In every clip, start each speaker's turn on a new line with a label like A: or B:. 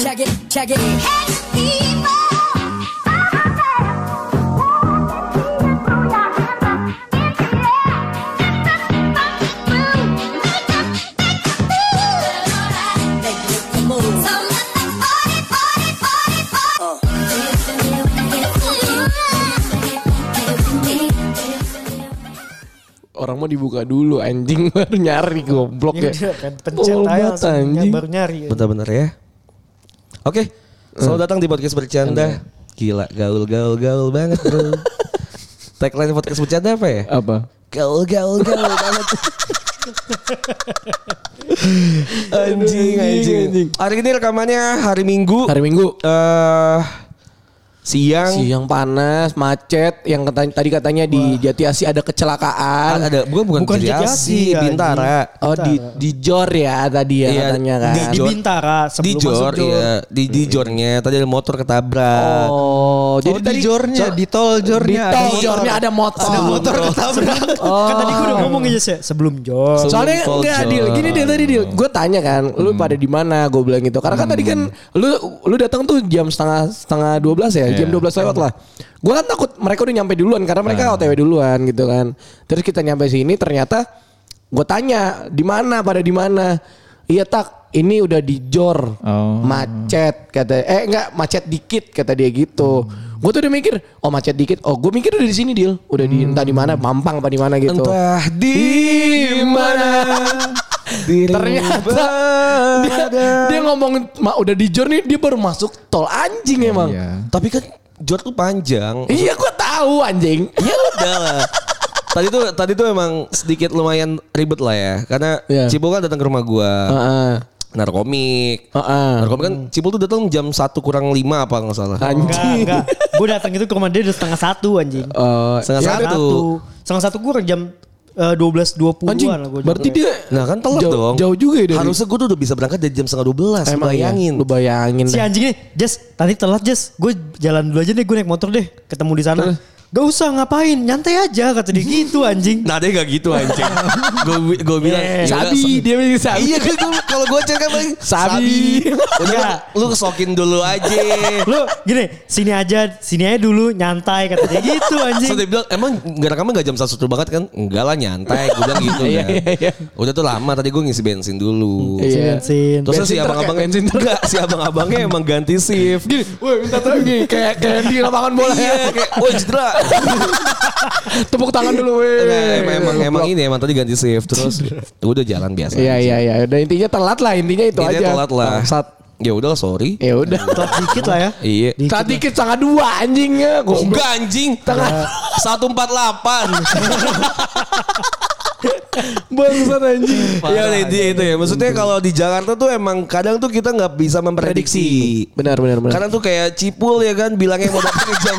A: Check it. Make it the move.
B: Orang mah dibuka dulu anjing baru nyari goblok
C: Ini
B: ya.
C: dia kan pencet
B: Tolol
C: aja
B: banget,
C: langsung ya,
B: anjing.
C: baru nyari.
D: Bentar-bentar ya. Oke, selamat datang di podcast bercanda. Gila, gaul gaul gaul banget, Bro. Tagline podcast bercanda apa ya?
B: Apa?
D: Gaul gaul gaul banget. anjing, anjing,
B: anjing.
D: Hari ini rekamannya hari Minggu.
B: Hari Minggu
D: eh, siang.
B: siang panas, macet yang kata- tadi katanya di Jati Asih ada
D: Ada,
B: kecelakaan.
D: Ah, ada bukan bukan,
C: Bukan
D: Jati
C: Jati
D: Asih,
C: Asih,
D: Bintara.
B: Oh di di Jor ya tadi ya
D: Iya,
B: katanya kan.
C: Di, di
D: Jor.
C: Bintara sebelum
D: Di Jor,
C: masuk Jor.
D: iya. Di, di Jornya tadi ada motor ketabrak.
B: Oh, jadi
E: di
B: tadi
E: jornya, di tol
B: di
E: jornya.
B: tol Jornya ada motor.
E: Ada motor ketabrak.
C: Kan tadi gue udah ngomong aja sih sebelum Jor.
D: Sebelum
B: Soalnya
D: Paul
B: enggak
D: John.
B: deal. Gini deal tadi deal. Gue tanya kan, lu pada di mana? Gue bilang gitu. Karena kan tadi kan lu lu datang tuh jam setengah setengah 12 ya, jam 12 lewat lah. Gue kan takut mereka udah nyampe duluan karena mereka OTW duluan gitu kan. Terus kita nyampe sini ternyata gue tanya di mana pada di mana? Iya tak, ini udah di Jor.
E: Oh.
B: Macet kata eh enggak macet dikit kata dia gitu. Gue tuh udah mikir, oh macet dikit. Oh, gue mikir udah di sini deal. Udah di entah di mana, Mampang apa di mana gitu.
D: Entah di mana dirimu
B: Ternyata dia,
D: berada.
B: dia ngomong "Ma, udah di jor nih dia baru masuk tol anjing emang.
E: Iya.
D: Tapi kan Jor tuh panjang.
B: Iya gua tahu anjing.
D: Ya udah lah. Tadi tuh tadi tuh emang sedikit lumayan ribet lah ya. Karena
B: Iya.
D: Cipul kan datang ke rumah gua.
B: Heeh.
D: Narkomik.
B: Heeh.
D: Narkomik kan Cipul tuh datang jam 1 kurang 5 apa nggak salah.
C: Enggak,
B: Anjing.
C: enggak. Gue datang itu ke rumah dia udah setengah satu anjing.
B: Eh,
D: Setengah
C: Setengah
D: satu.
C: satu. Setengah satu gue jam eh, dua belas dua puluh
B: anjing.
C: an lah gue.
B: Berarti dia
D: Nah kan telat
B: jauh,
D: dong.
B: Jauh juga ya dari.
D: Harusnya gue tuh udah bisa berangkat dari jam setengah 12.
B: emang
D: Emang
B: ya,
D: bayangin.
B: Lu bayangin.
C: si
B: dah.
C: anjing ini, Jess tadi telat Jess. Gue jalan dulu aja deh, gue naik motor deh. Ketemu di sana. Gak usah ngapain, nyantai aja kata dia gitu anjing.
D: Nah dia gak gitu anjing. gue gue bilang.
C: Eh,
D: "Ya udah,
B: sabi dia bilang sabi.
D: Iya kan gua- kalau gue cek kan paling
B: Sabi.
D: Udah lu kesokin dulu aja.
C: Lu gini, sini aja, sini aja dulu nyantai kata dia gitu
D: So
C: anjing.
D: dia bilang emang nggak rekaman nggak jam satu banget kan? Enggak lah nyantai. Gue bilang gitu
B: Iya,
D: kan.
B: iya, iya.
D: Udah tuh lama tadi gue ngisi bensin dulu.
B: Iya.
C: Bensin.
B: Bensin
D: Terus si
B: truk ya,
D: abang-abang
B: bensin Iya. truk.
D: enggak si abang-abangnya emang ganti shift.
B: Gini, woi minta tolong gini kayak kayak di lapangan bola ya.
D: Iya kayak oh cedera.
B: Tepuk tangan dulu weh.
D: Enggak, emang, emang, emang ini emang tadi ganti shift terus gue udah jalan biasa.
B: Iya iya iya. Udah intinya telat lah intinya itu
D: Intinya
B: aja.
D: telat lah.
B: Bangsat.
D: Ya udah lah, sorry.
B: Ya udah.
C: Telat dikit lah ya.
D: Iya.
B: Tadi dikit setengah dua anjingnya.
D: Oh,
B: Goblok.
D: enggak anjing. Satu empat delapan.
B: Bangsat anjing.
D: Ya udah intinya itu ya. Maksudnya kalau di Jakarta tuh emang kadang tuh kita nggak bisa memprediksi.
B: Benar benar benar.
D: Karena tuh kayak Cipul ya kan bilangnya mau datang jam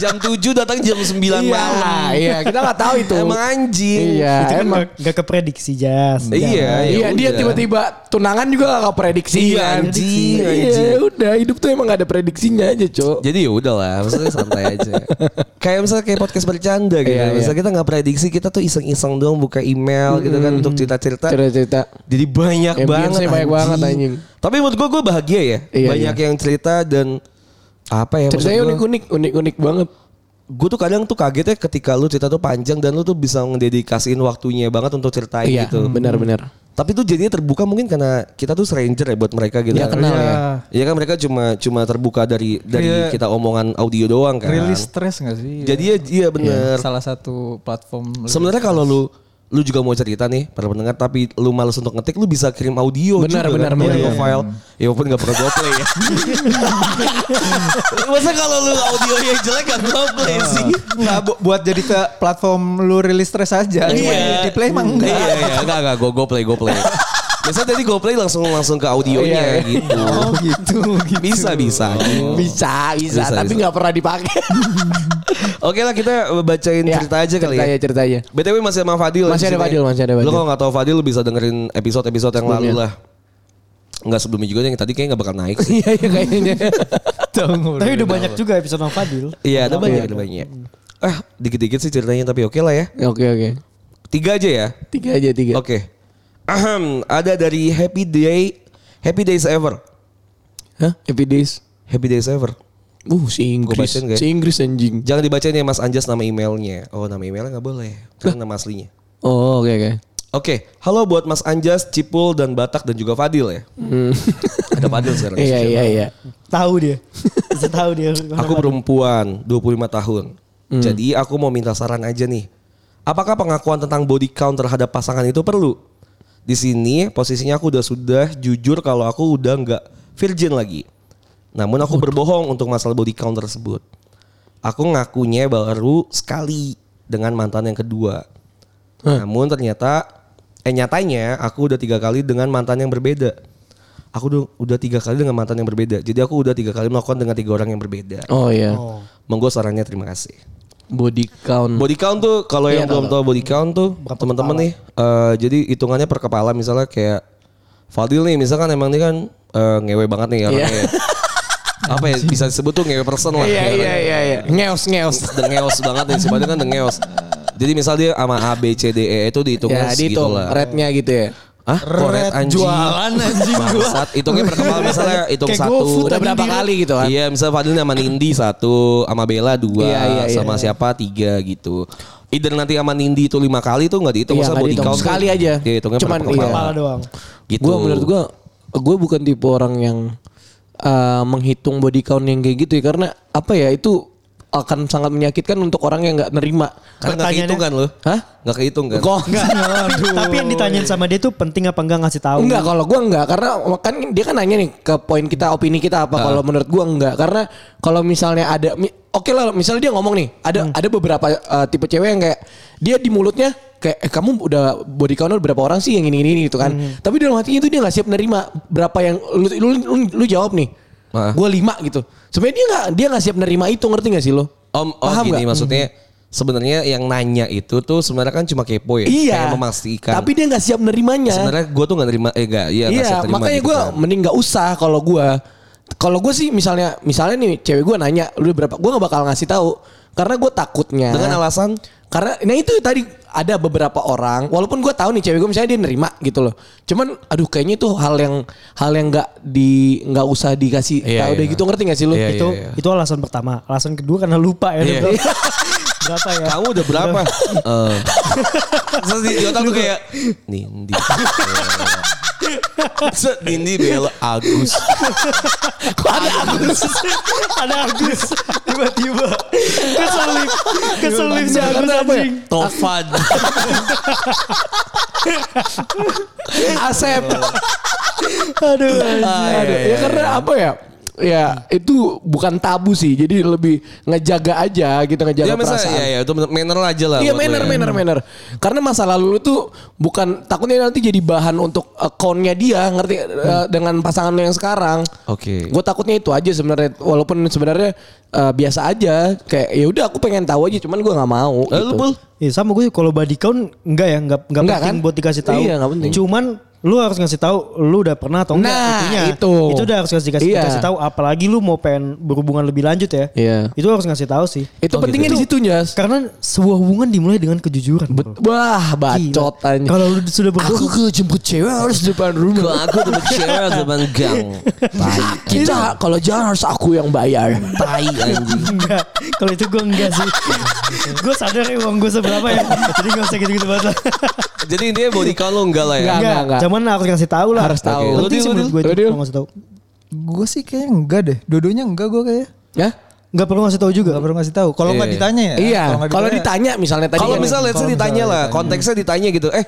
D: jam 7 datang jam 9
B: iya,
D: malam.
B: iya, kita nggak tahu itu.
D: Emang anjing.
B: Iya,
C: Itu kan
B: emang.
C: gak, gak keprediksi Jas.
D: Iya,
B: Iya, dia
D: udah.
B: tiba-tiba tunangan juga gak prediksi.
D: Iya,
B: kan.
D: anjing, anjing.
B: Iya, udah hidup tuh emang gak ada prediksinya aja, Cok.
D: Jadi ya udahlah, maksudnya santai aja. kayak misalnya kayak podcast bercanda gitu.
B: Iya, iya.
D: misalnya kita nggak prediksi, kita tuh iseng-iseng doang buka email gitu kan untuk cerita-cerita.
B: Cerita-cerita.
D: Jadi banyak
B: Ambience-nya
D: banget
B: banyak banget, anjing.
D: Tapi menurut gue gue bahagia ya.
B: Iya,
D: banyak
B: iya.
D: yang cerita dan apa ya maksud
B: Ceritanya
D: gua-
B: unik-unik, unik-unik banget.
D: gue tuh kadang tuh kagetnya ketika lu cerita tuh panjang dan lu tuh bisa ngededikasiin waktunya banget untuk ceritain
B: Iya,
D: gitu.
B: benar-benar.
D: Tapi tuh jadinya terbuka mungkin karena kita tuh stranger ya buat mereka gitu.
B: Nggak kenal ya.
D: Iya kan mereka cuma cuma terbuka dari dari
E: Iya.
D: kita omongan audio doang kan.
E: Rilis stres gak sih?
D: Jadi ya iya bener.
E: salah satu platform.
D: Sebenarnya kalau lu lu juga mau cerita nih para pendengar tapi lu males untuk ngetik lu bisa kirim audio
B: Benar,
D: juga
B: benar,
D: kan,
B: benar.
D: audio
B: Iya.
D: file ya walaupun gak pernah gue play ya masa kalau lu audionya jelek gak gue play
B: Oh.
D: sih
E: Nah, bu- buat jadi ke platform lu rilis stres aja.
B: Iya,
E: Cuma di- Di play emang enggak.
D: Iya, iya, enggak, enggak, gue go play, go play. Biasanya tadi go play langsung langsung ke audionya
B: Iya. Oh.
D: gitu.
E: Oh gitu, gitu.
D: Bisa, bisa.
B: Bisa, bisa,
D: Oh. Bisa,
B: tapi
D: bisa.
B: nggak pernah dipakai.
D: Oke lah kita bacain
B: Ya,
D: cerita aja kali
B: cerita
D: ya.
B: aja, cerita aja.
D: BTW masih sama Fadil.
B: Masih
D: di
B: ada
D: sini.
B: Fadil, masih ada Fadil.
D: Lu kalau gak tau Fadil lu bisa dengerin episode-episode yang lalu
B: Sebelumnya.
D: lah. Enggak sebelumnya juga yang tadi kayaknya gak bakal naik sih.
B: Iya, iya kayaknya.
C: Tapi udah banyak juga episode sama Fadil.
D: Iya
B: ya?
D: ada banyak, ada banyak. Eh dikit-dikit sih ceritanya tapi oke lah ya.
B: Oke, oke.
D: Tiga aja ya.
B: Tiga aja, tiga.
D: Oke. Ahem, ada dari Happy Day, Happy Days Ever.
B: Hah? Happy days.
D: Happy days ever.
B: Uh, si Inggris.
D: bacain nggak ya?
B: Si Inggris anjing.
D: Jangan dibacain ya Mas Anjas nama emailnya. Oh nama emailnya nggak boleh. Karena nama aslinya.
B: Oh, oke oke.
D: Oke, halo buat Mas Anjas, Cipul, dan Batak, dan juga Fadil ya. Ada Fadil sekarang.
B: Hmm. Iya iya iya.
C: Tahu dia. Bisa tahu dia.
D: Aku perempuan, 25 tahun. Jadi aku mau minta saran aja nih. Apakah pengakuan tentang body count terhadap pasangan itu perlu? Di sini posisinya aku udah sudah jujur kalau aku udah nggak virgin lagi. Namun aku berbohong untuk masalah body count tersebut. Aku ngakunya baru sekali dengan mantan yang kedua. Namun ternyata eh nyatanya aku udah tiga kali dengan mantan yang berbeda. Aku udah, udah tiga kali dengan mantan yang berbeda. Jadi aku udah tiga kali melakukan dengan tiga orang yang berbeda.
B: Oh iya.
D: Monggo sarannya terima kasih.
B: Body count.
D: Body count tuh kalau
B: Iya,
D: yang belum tahu body count tuh teman-teman nih eh, jadi hitungannya per kepala misalnya kayak Fadil nih misalkan emang dia kan eh, ngewe banget nih orangnya. Apa ya bisa disebut tuh ngewe person lah.
B: Iya iya iya iya. Ngeos ngeos.
D: Dengeos banget nih si Fadil kan dengeos. Jadi misal dia sama A B C D E itu
B: Ya,
D: dihitungnya segitu
B: dihitung
D: lah.
B: rednya gitu ya.
D: Ah, koret anjing.
C: jualan anjing gua.
D: Bangsat, hitungnya per kepala misalnya hitung
C: Kayak
D: satu.
C: GoFood
B: Udah berapa kali gitu kan?
D: Iya, misalnya Fadil sama Nindi satu, sama Bella dua,
B: Iya, iya, iya.
D: sama siapa tiga gitu. Either nanti sama Nindi itu lima kali tuh nggak dihitung,
B: Iya,
D: misalnya
B: nggak
D: body
B: dihitung.
D: count tuh
B: Sekali aja.
D: Dia hitungnya
B: Cuman,
D: per kepala.
C: Kepala doang.
D: Gitu.
B: Gue menurut gue, gue bukan tipe orang yang eh, menghitung body count yang kayak gitu ya karena apa ya itu akan sangat menyakitkan untuk orang yang nggak nerima.
D: Karena nggak
C: Pertanyaannya-
D: kehitung kan lo?
B: Hah?
D: Nggak kehitung kan?
B: Kok
C: Enggak. Tapi yang ditanyain sama dia tuh penting apa enggak ngasih tahu.
B: Enggak kalau gua enggak karena kan dia kan nanya nih ke poin kita opini kita
D: Ah.
B: apa kalau menurut gua enggak karena kalau misalnya ada mi- oke lah misalnya dia ngomong nih ada
D: Hmm.
B: ada beberapa eh, tipe cewek yang kayak dia di mulutnya kayak eh, kamu udah body count berapa orang sih yang ini ini, ini gitu kan
D: Hmm.
B: tapi dalam hatinya itu dia nggak siap nerima berapa yang lu lu, lu, lu jawab nih
D: Ah.
B: gua lima gitu sebenarnya dia nggak dia nggak siap nerima itu ngerti nggak sih lo
D: Om, oh
B: Paham nggak?
D: gini maksudnya sebenarnya yang nanya itu tuh sebenarnya kan cuma kepo ya,
B: iya
D: pengen memastikan.
B: tapi dia nggak siap nerimanya
D: sebenarnya gue tuh nggak terima, eh nggak, iya, nggak siap
B: Iya,
D: terima
B: makanya
D: gitu
B: gue
D: kan.
B: mending nggak usah kalau gue. Kalau gue sih misalnya, misalnya nih cewek gue nanya, lu udah berapa? Gue nggak bakal ngasih tahu karena gue takutnya.
D: dengan alasan
B: Karena, nah itu tadi ada beberapa orang, walaupun gue tahu nih cewek gue misalnya dia nerima gitu loh. Cuman, aduh kayaknya itu hal yang hal yang nggak di nggak usah dikasih
D: Iya,
B: tahu deh
D: iya.
B: gitu ngerti gak sih lu?
D: Iya,
B: itu
C: Itu itu alasan pertama. Alasan kedua karena lupa ya.
D: Iya.
C: lu. Berapa ya?
D: kamu udah berapa? Eh. Terus di di otak tuh kayak Nindi. Bella." Terus Nindi Bella Agus.
C: ada Agus tiba-tiba keselip keselip si
B: Enggak,
C: Agus
B: karena apa ya?
C: anjing
D: Tovan.
B: Asep.
C: aduh
D: iya,
B: Aduh, ya karena apa ya? Ya itu bukan tabu sih, jadi lebih ngejaga aja gitu ngejaga
D: Ya misalnya
B: perasaan.
D: ya, ya itu manner aja lah.
B: Iya
D: buat ya.
B: manner
D: gue.
B: manner manner. Karena masa lalu lu tuh bukan takutnya nanti jadi bahan untuk accountnya dia ngerti eh, dengan pasangan lu yang sekarang.
D: Oke.
B: Gue takutnya itu aja sebenarnya walaupun sebenarnya eh, biasa aja kayak ya udah aku pengen tahu aja cuman gua nggak mau. gitu.
D: Eh, Lu Bul?
C: ya sama gue kalau body count enggak ya enggak enggak,
B: Enggak
C: penting
B: kan?
C: buat dikasih tahu
B: Iya, enggak penting.
C: cuman lu harus ngasih tahu lu udah pernah atau enggak
B: Nah,
C: intinya.
B: itu.
C: itu udah harus ngasih dikasih,
B: Iya.
C: dikasih tahu apalagi lu mau pengen berhubungan lebih lanjut ya
B: Iya.
C: itu harus ngasih tahu sih
B: Itu
D: Oh,
B: pentingnya
D: gitu.
B: di situ Jas.
C: karena sebuah hubungan dimulai dengan kejujuran bro.
B: Wah
C: Gila.
B: bacot anjing.
C: kalau lu sudah berbohong
B: ke jemput cewek harus di depan
D: Kalau
B: rumah.
D: aku tuh kecewa sama gang. Tai.
B: Kita kalau jalan harus aku yang bayar.
D: Tai anjing.
C: enggak kalau itu gue enggak sih gue sadar ya uang gue seberapa ya jadi gak usah gitu-gitu banget lah
D: Jadi dia body count lu enggak lah ya.
B: Enggak.
C: enggak, Cuman harus ngasih tahu lah.
B: Harus tahu.
D: Oke. Lu,
C: Penting sih
D: Dil,
C: menurut gue
D: Dil?
B: Lu,
C: itu
B: Dil?
C: kalau ngasih tahu.
E: Gue sih kayaknya enggak deh. Dodonya enggak gue kayaknya.
B: Ya?
C: Enggak perlu ngasih tahu juga.
E: Gak perlu ngasih tahu. Kalau nggak
D: Iya.
E: ditanya ya.
B: Iya. Kalau
E: ditanya-
B: ditanya misalnya tadi
D: Kalau
B: kan-
D: misal let's say
E: Kalau
D: ditanya
E: misalnya
D: lah,
E: ditanya.
D: konteksnya ditanya gitu. Eh,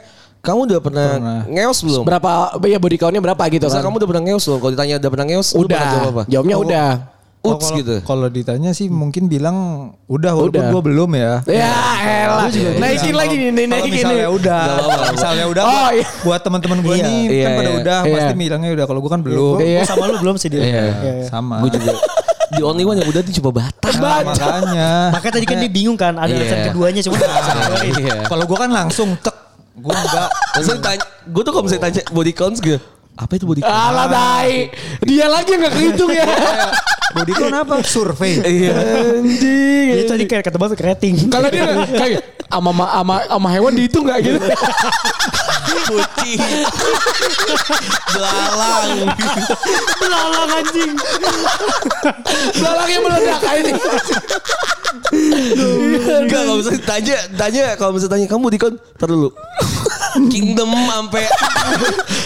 D: kamu udah pernah,
E: Pernah.
D: ngeos belum?
B: berapa ya body count-nya berapa gitu
D: Misal
B: kan.
D: kamu udah pernah ngeos belum? Kalau ditanya udah pernah ngeos, lu
B: udah
D: pernah jawab apa?
A: Oh.
B: jawabnya
E: Kalau-
B: udah
E: Kalau-
D: Uts
E: kalau-
D: gitu.
E: Kalau ditanya sih mungkin bilang udah walaupun
B: Udah.
E: gue belum ya.
B: ya elah naikin
A: gitu.
E: Kalau-
B: lagi nih nih,
E: kalau
B: naikin
E: misalnya
B: nih
E: udah,
D: Nggak apa-apa.
E: misalnya udah,
B: Oh,
E: buat-
B: iya.
E: buat teman-teman gue
C: Iya.
E: nih
D: Iya,
E: kan pada
D: iya.
E: udah,
B: Iya.
E: pasti bilangnya udah. Kalau gue kan belum,
B: Iya.
C: Gua sama lu belum sih dia. Iya, iya.
E: sama.
D: Gue juga. The only one yang udah tuh coba batak.
E: Nah, makanya.
C: Makanya tadi kan dia bingung kan ada
D: Iya.
C: alasan keduanya cuma
B: Iya.
E: Kalau gue kan langsung cek, gue enggak.
D: Maksudnya tanya, gue tuh kalau misalnya tanya body counts gitu. Apa itu body count?
B: Alah tai. Dia lagi yang gak kehitung ya.
E: Body count apa? Survei.
D: Iya.
C: Jadi
B: Anjing.
C: Iya, tadi kayak kata banget ke rating.
B: Kalau dia kayak ama ama ama, ama hewan dihitung gak gitu.
D: Putih. Belalang.
C: Belalang anjing.
B: Belakangnya meledak ini.
D: Enggak kalau misalnya tanya tanya kalau misalnya tanya kamu di kon tar dulu. Kingdom sampai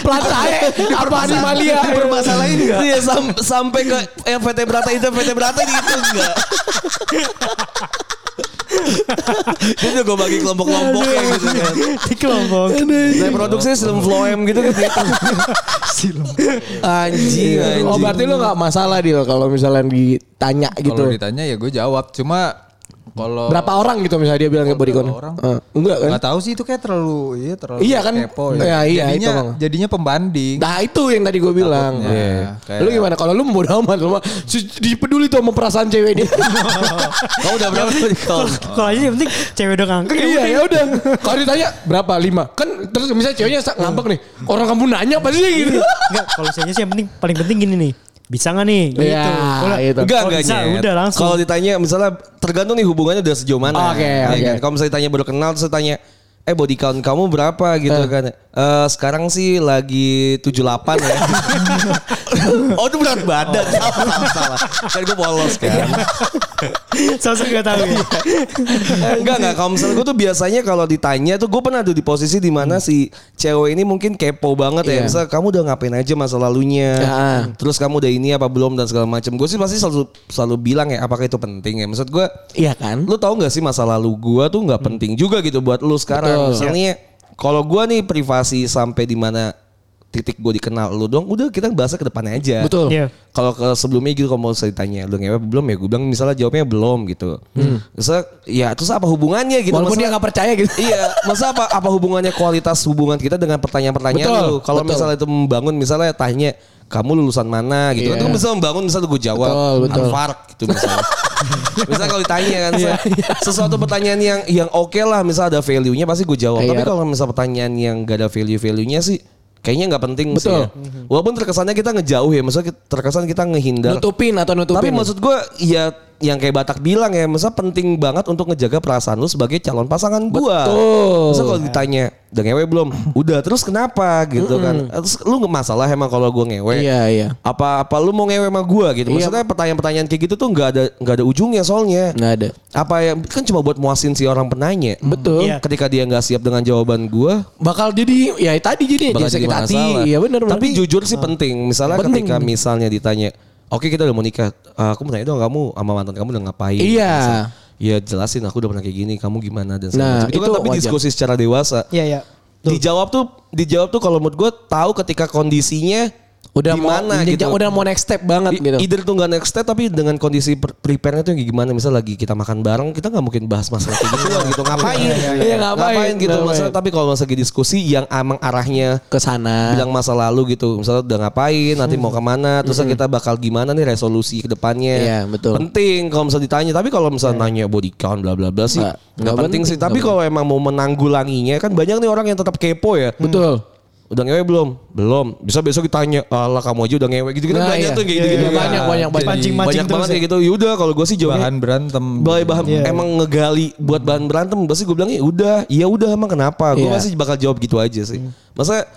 B: Plantae apa animalia.
E: Permasalahin enggak?
D: Iya, sam- sampai ke eh, PT Berata itu PT Berata gitu enggak. Itu udah gue bagi kelompok-kelompok ya gitu kan.
C: Di kelompok.
B: iya.
D: Nah, produksinya film Floem gitu gitu. Anjing, anjing.
B: Oh berarti lu gak masalah Dil kalau misalnya ditanya
A: Kalau
B: gitu.
A: ditanya ya gue jawab. Cuma kalau
B: Berapa orang gitu misalnya dia bilang kayak body count?
A: Berapa orang?
B: Eh, enggak kan?
A: Gak tahu sih itu kayak terlalu iya terlalu
B: Iya kan?
A: kepo ya.
B: Iya, iya,
A: jadinya,
B: itu, Bang.
A: jadinya pembanding.
B: Nah itu yang tadi gue bilang.
A: Takutnya,
B: Iya.
A: kayak-
B: Lu gimana? Kalau lu bodo amat lu mah su- dipeduli tuh sama perasaan cewek dia.
D: Kamu udah berapa di
C: Kalau- Kalau aja yang penting cewek udah
D: Kan
C: ngangkut.
B: iya ya udah. Kalau ditanya berapa lima? Kan terus misalnya ceweknya sa- ngambek nih. Orang kamu nanya pasti dia
D: Iya.
B: gitu.
C: Enggak, kalau saya sih yang penting paling penting gini nih. Bisa nggak nih? Gitu.
B: Iya,
C: Kalau-
B: gitu.
D: Enggak,
C: Kalau
D: enggak
C: bisa,
D: Nyet.
C: udah langsung.
D: Kalau ditanya misalnya tergantung nih hubungannya udah sejauh mana.
B: Oke,
D: ya
B: oke.
D: kan? Kalau misalnya ditanya baru kenal terus tanya eh body count kamu berapa gitu kan. Eh sekarang sih lagi 78 ya. oh itu berat badan. Salah, salah, salah. Kan gue polos kan.
C: Sosok nggak tahu ya.
D: enggak enggak kalau misalnya gue tuh biasanya kalau ditanya tuh gue pernah tuh di posisi di mana si cewek ini mungkin kepo banget ya
B: Iya.
D: misalnya kamu udah ngapain aja masa lalunya
B: Ah.
D: terus kamu udah ini apa belum dan segala macam gue sih pasti selalu selalu bilang ya apakah itu penting ya maksud gue
B: Iya kan?
D: lu tau gak sih masa lalu gue tuh nggak penting juga gitu buat lu sekarang
B: Hmm. Betul. Iya.
D: misalnya kalau gue nih privasi sampai di mana titik gue dikenal lu dong udah kita bahasa ke depannya aja
B: Betul.
C: Iya.
D: kalau ke sebelumnya gitu kalau mau saya ditanya lu ngewe apa belum ya gue bilang misalnya jawabnya belum gitu. Terus ya terus apa hubungannya gitu?
B: Hmm. Walaupun dia
D: Maksudnya-
B: gak percaya gitu.
D: iya, masa apa apa hubungannya kualitas hubungan kita dengan pertanyaan-pertanyaan
B: Betul,
D: lu? Kalau
B: betul.
D: misalnya itu membangun misalnya tanya kamu lulusan mana gitu kan itu kan bisa membangun misalnya gue jawab
B: Iya. Betul, betul. Iya,
D: Harvard gitu misalnya. misalnya kalau ditanya kan misalnya, sesuatu pertanyaan yang yang oke lah misalnya ada value-nya pasti gue jawab.
B: Iya.
D: Tapi kalau misalnya pertanyaan yang gak ada value-value-nya sih kayaknya nggak penting sih.
B: Betul.
D: ya. Walaupun terkesannya kita ngejauh ya, maksudnya kita- terkesan kita ngehindar.
B: Nutupin atau
D: Tapi
B: nutupin.
D: maksud gue ya yang kayak Batak bilang ya, masa penting banget untuk ngejaga perasaan lu sebagai calon pasangan gua.
B: Betul.
D: Masa kalau ditanya, udah ngewe belum? Udah, terus kenapa gitu kan? Terus lu nggak masalah emang kalau gua ngewe?
B: Iya, iya.
D: Apa apa lu mau ngewe sama gua
B: Iya.
D: gitu? Maksudnya pertanyaan-pertanyaan kayak gitu tuh nggak ada nggak ada ujungnya soalnya.
B: Nggak ada.
D: Apa ya kan cuma buat muasin si orang penanya.
B: Nah. Betul.
C: Iya.
D: Ketika dia nggak siap dengan jawaban gua,
B: Bakal jadi ya tadi jadi
D: Bakal
B: dia sakit
D: jadi
B: hati.
D: masalah.
B: Iya benar benar.
D: Tapi jujur sih penting. Misalnya
B: Penting,
D: ketika
B: penting.
D: misalnya ditanya, oke kita udah mau nikah, Eh, aku mau tanya dong kamu sama mantan kamu udah ngapain?
B: Iya.
D: Misalnya, Iya jelasin aku udah pernah kayak gini, kamu gimana
B: Nah,
D: dan segala macam. Itu, kan
B: itu
D: tapi
B: wajar.
D: diskusi secara dewasa.
C: Iya, iya.
D: Dijawab tuh, dijawab tuh kalau menurut gue tahu ketika kondisinya
B: udah
D: gimana
B: mau
D: gitu.
B: udah mau next step banget
D: I-
B: gitu.
D: Either tuh nggak next step tapi dengan kondisi per- prepare-nya tuh yang gimana misalnya lagi kita makan bareng kita nggak mungkin bahas masalah kayak gitu gitu ngapain
B: Iya, ngapain,
D: gitu
B: ngapain.
D: masalah tapi kalau masalah lagi diskusi yang emang arahnya
B: Ke sana.
D: bilang masa lalu gitu misalnya udah ngapain nanti mau kemana terus kita bakal gimana nih resolusi kedepannya
B: Iya, betul. Iya.
D: penting kalau misalnya ditanya tapi kalau misalnya nanya body count bla bla bla sih
B: Nggak-
D: nggak
B: nggak
D: penting sih
B: penting,
D: tapi
B: nggak
D: kalau emang mau menanggulanginya kan banyak nih orang yang tetap kepo ya
B: Betul.
D: udah ngewe belum belum bisa besok ditanya alah kamu aja udah ngewe gitu gitu
B: Nah, iya.
D: banyak tuh kayak gitu,
B: Iya, ya. banyak, banyak, Iya. banyak.
C: Mancing-mancing
D: banyak banget
C: terus
D: kayak gitu yaudah kalau gue sih
B: iya.
D: jawabnya
A: Bahan berantem.
D: bahan, bahan emang ngegali buat bahan berantem pasti gue bilang ya udah ya udah emang kenapa
B: Iya.
D: gue
B: Hmm.
D: masih bakal jawab gitu aja sih masa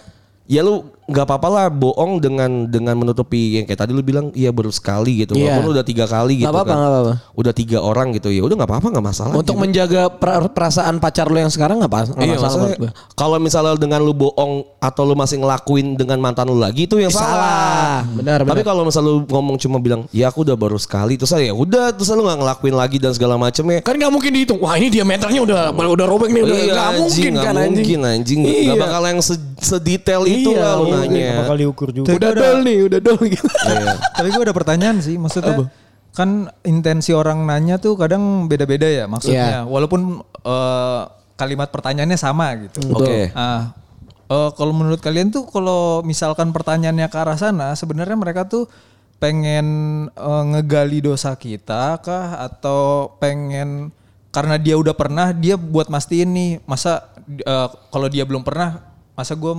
D: ya lu nggak apa-apa lah bohong dengan dengan menutupi yang kayak tadi lu bilang iya baru sekali gitu
B: Iya.
D: walaupun udah tiga kali gitu
B: Nggak apa-apa,
D: kan
B: nggak apa-apa.
D: udah tiga orang gitu ya udah nggak apa-apa nggak masalah
B: Untuk
D: gitu.
B: menjaga per- perasaan pacar lo yang sekarang nggak pas nggak
D: Iya,
B: masalah
D: maksudnya
B: menurut gue.
D: kalau misalnya dengan lu bohong atau lu masih ngelakuin dengan mantan lu lagi itu yang salah.
B: Salah. Benar,
D: Tapi
B: benar.
D: kalau misalnya lu ngomong cuma bilang, "Ya aku udah baru sekali." Terus ya udah, terus lu nggak ngelakuin lagi dan segala macamnya.
B: Kan nggak mungkin dihitung. Wah ini diameternya udah udah robek nih. Udah,
D: Iya,
B: nggak
D: anjing,
B: mungkin
D: nggak
B: kan
D: mungkin
B: anjing.
D: anjing. Nggak
B: Iya.
D: bakal yang se- sedetail itu
B: Iya,
D: lah lu
B: iya.
D: nanya.
C: Apa kali ukur juga.
B: Udah dol nih, udah dol gitu.
E: Iya. Tapi gue ada pertanyaan sih, maksudnya kan intensi orang nanya tuh kadang beda-beda
B: Iya.
E: ya maksudnya. Walaupun eh, kalimat pertanyaannya sama gitu.
D: Oke.
E: Ah, eh, kalau menurut kalian tuh kalau misalkan pertanyaannya ke arah sana, sebenarnya mereka tuh pengen eh, ngegali dosa kita kah atau pengen karena dia udah pernah dia buat mastiin nih masa eh, kalau dia belum pernah masa gue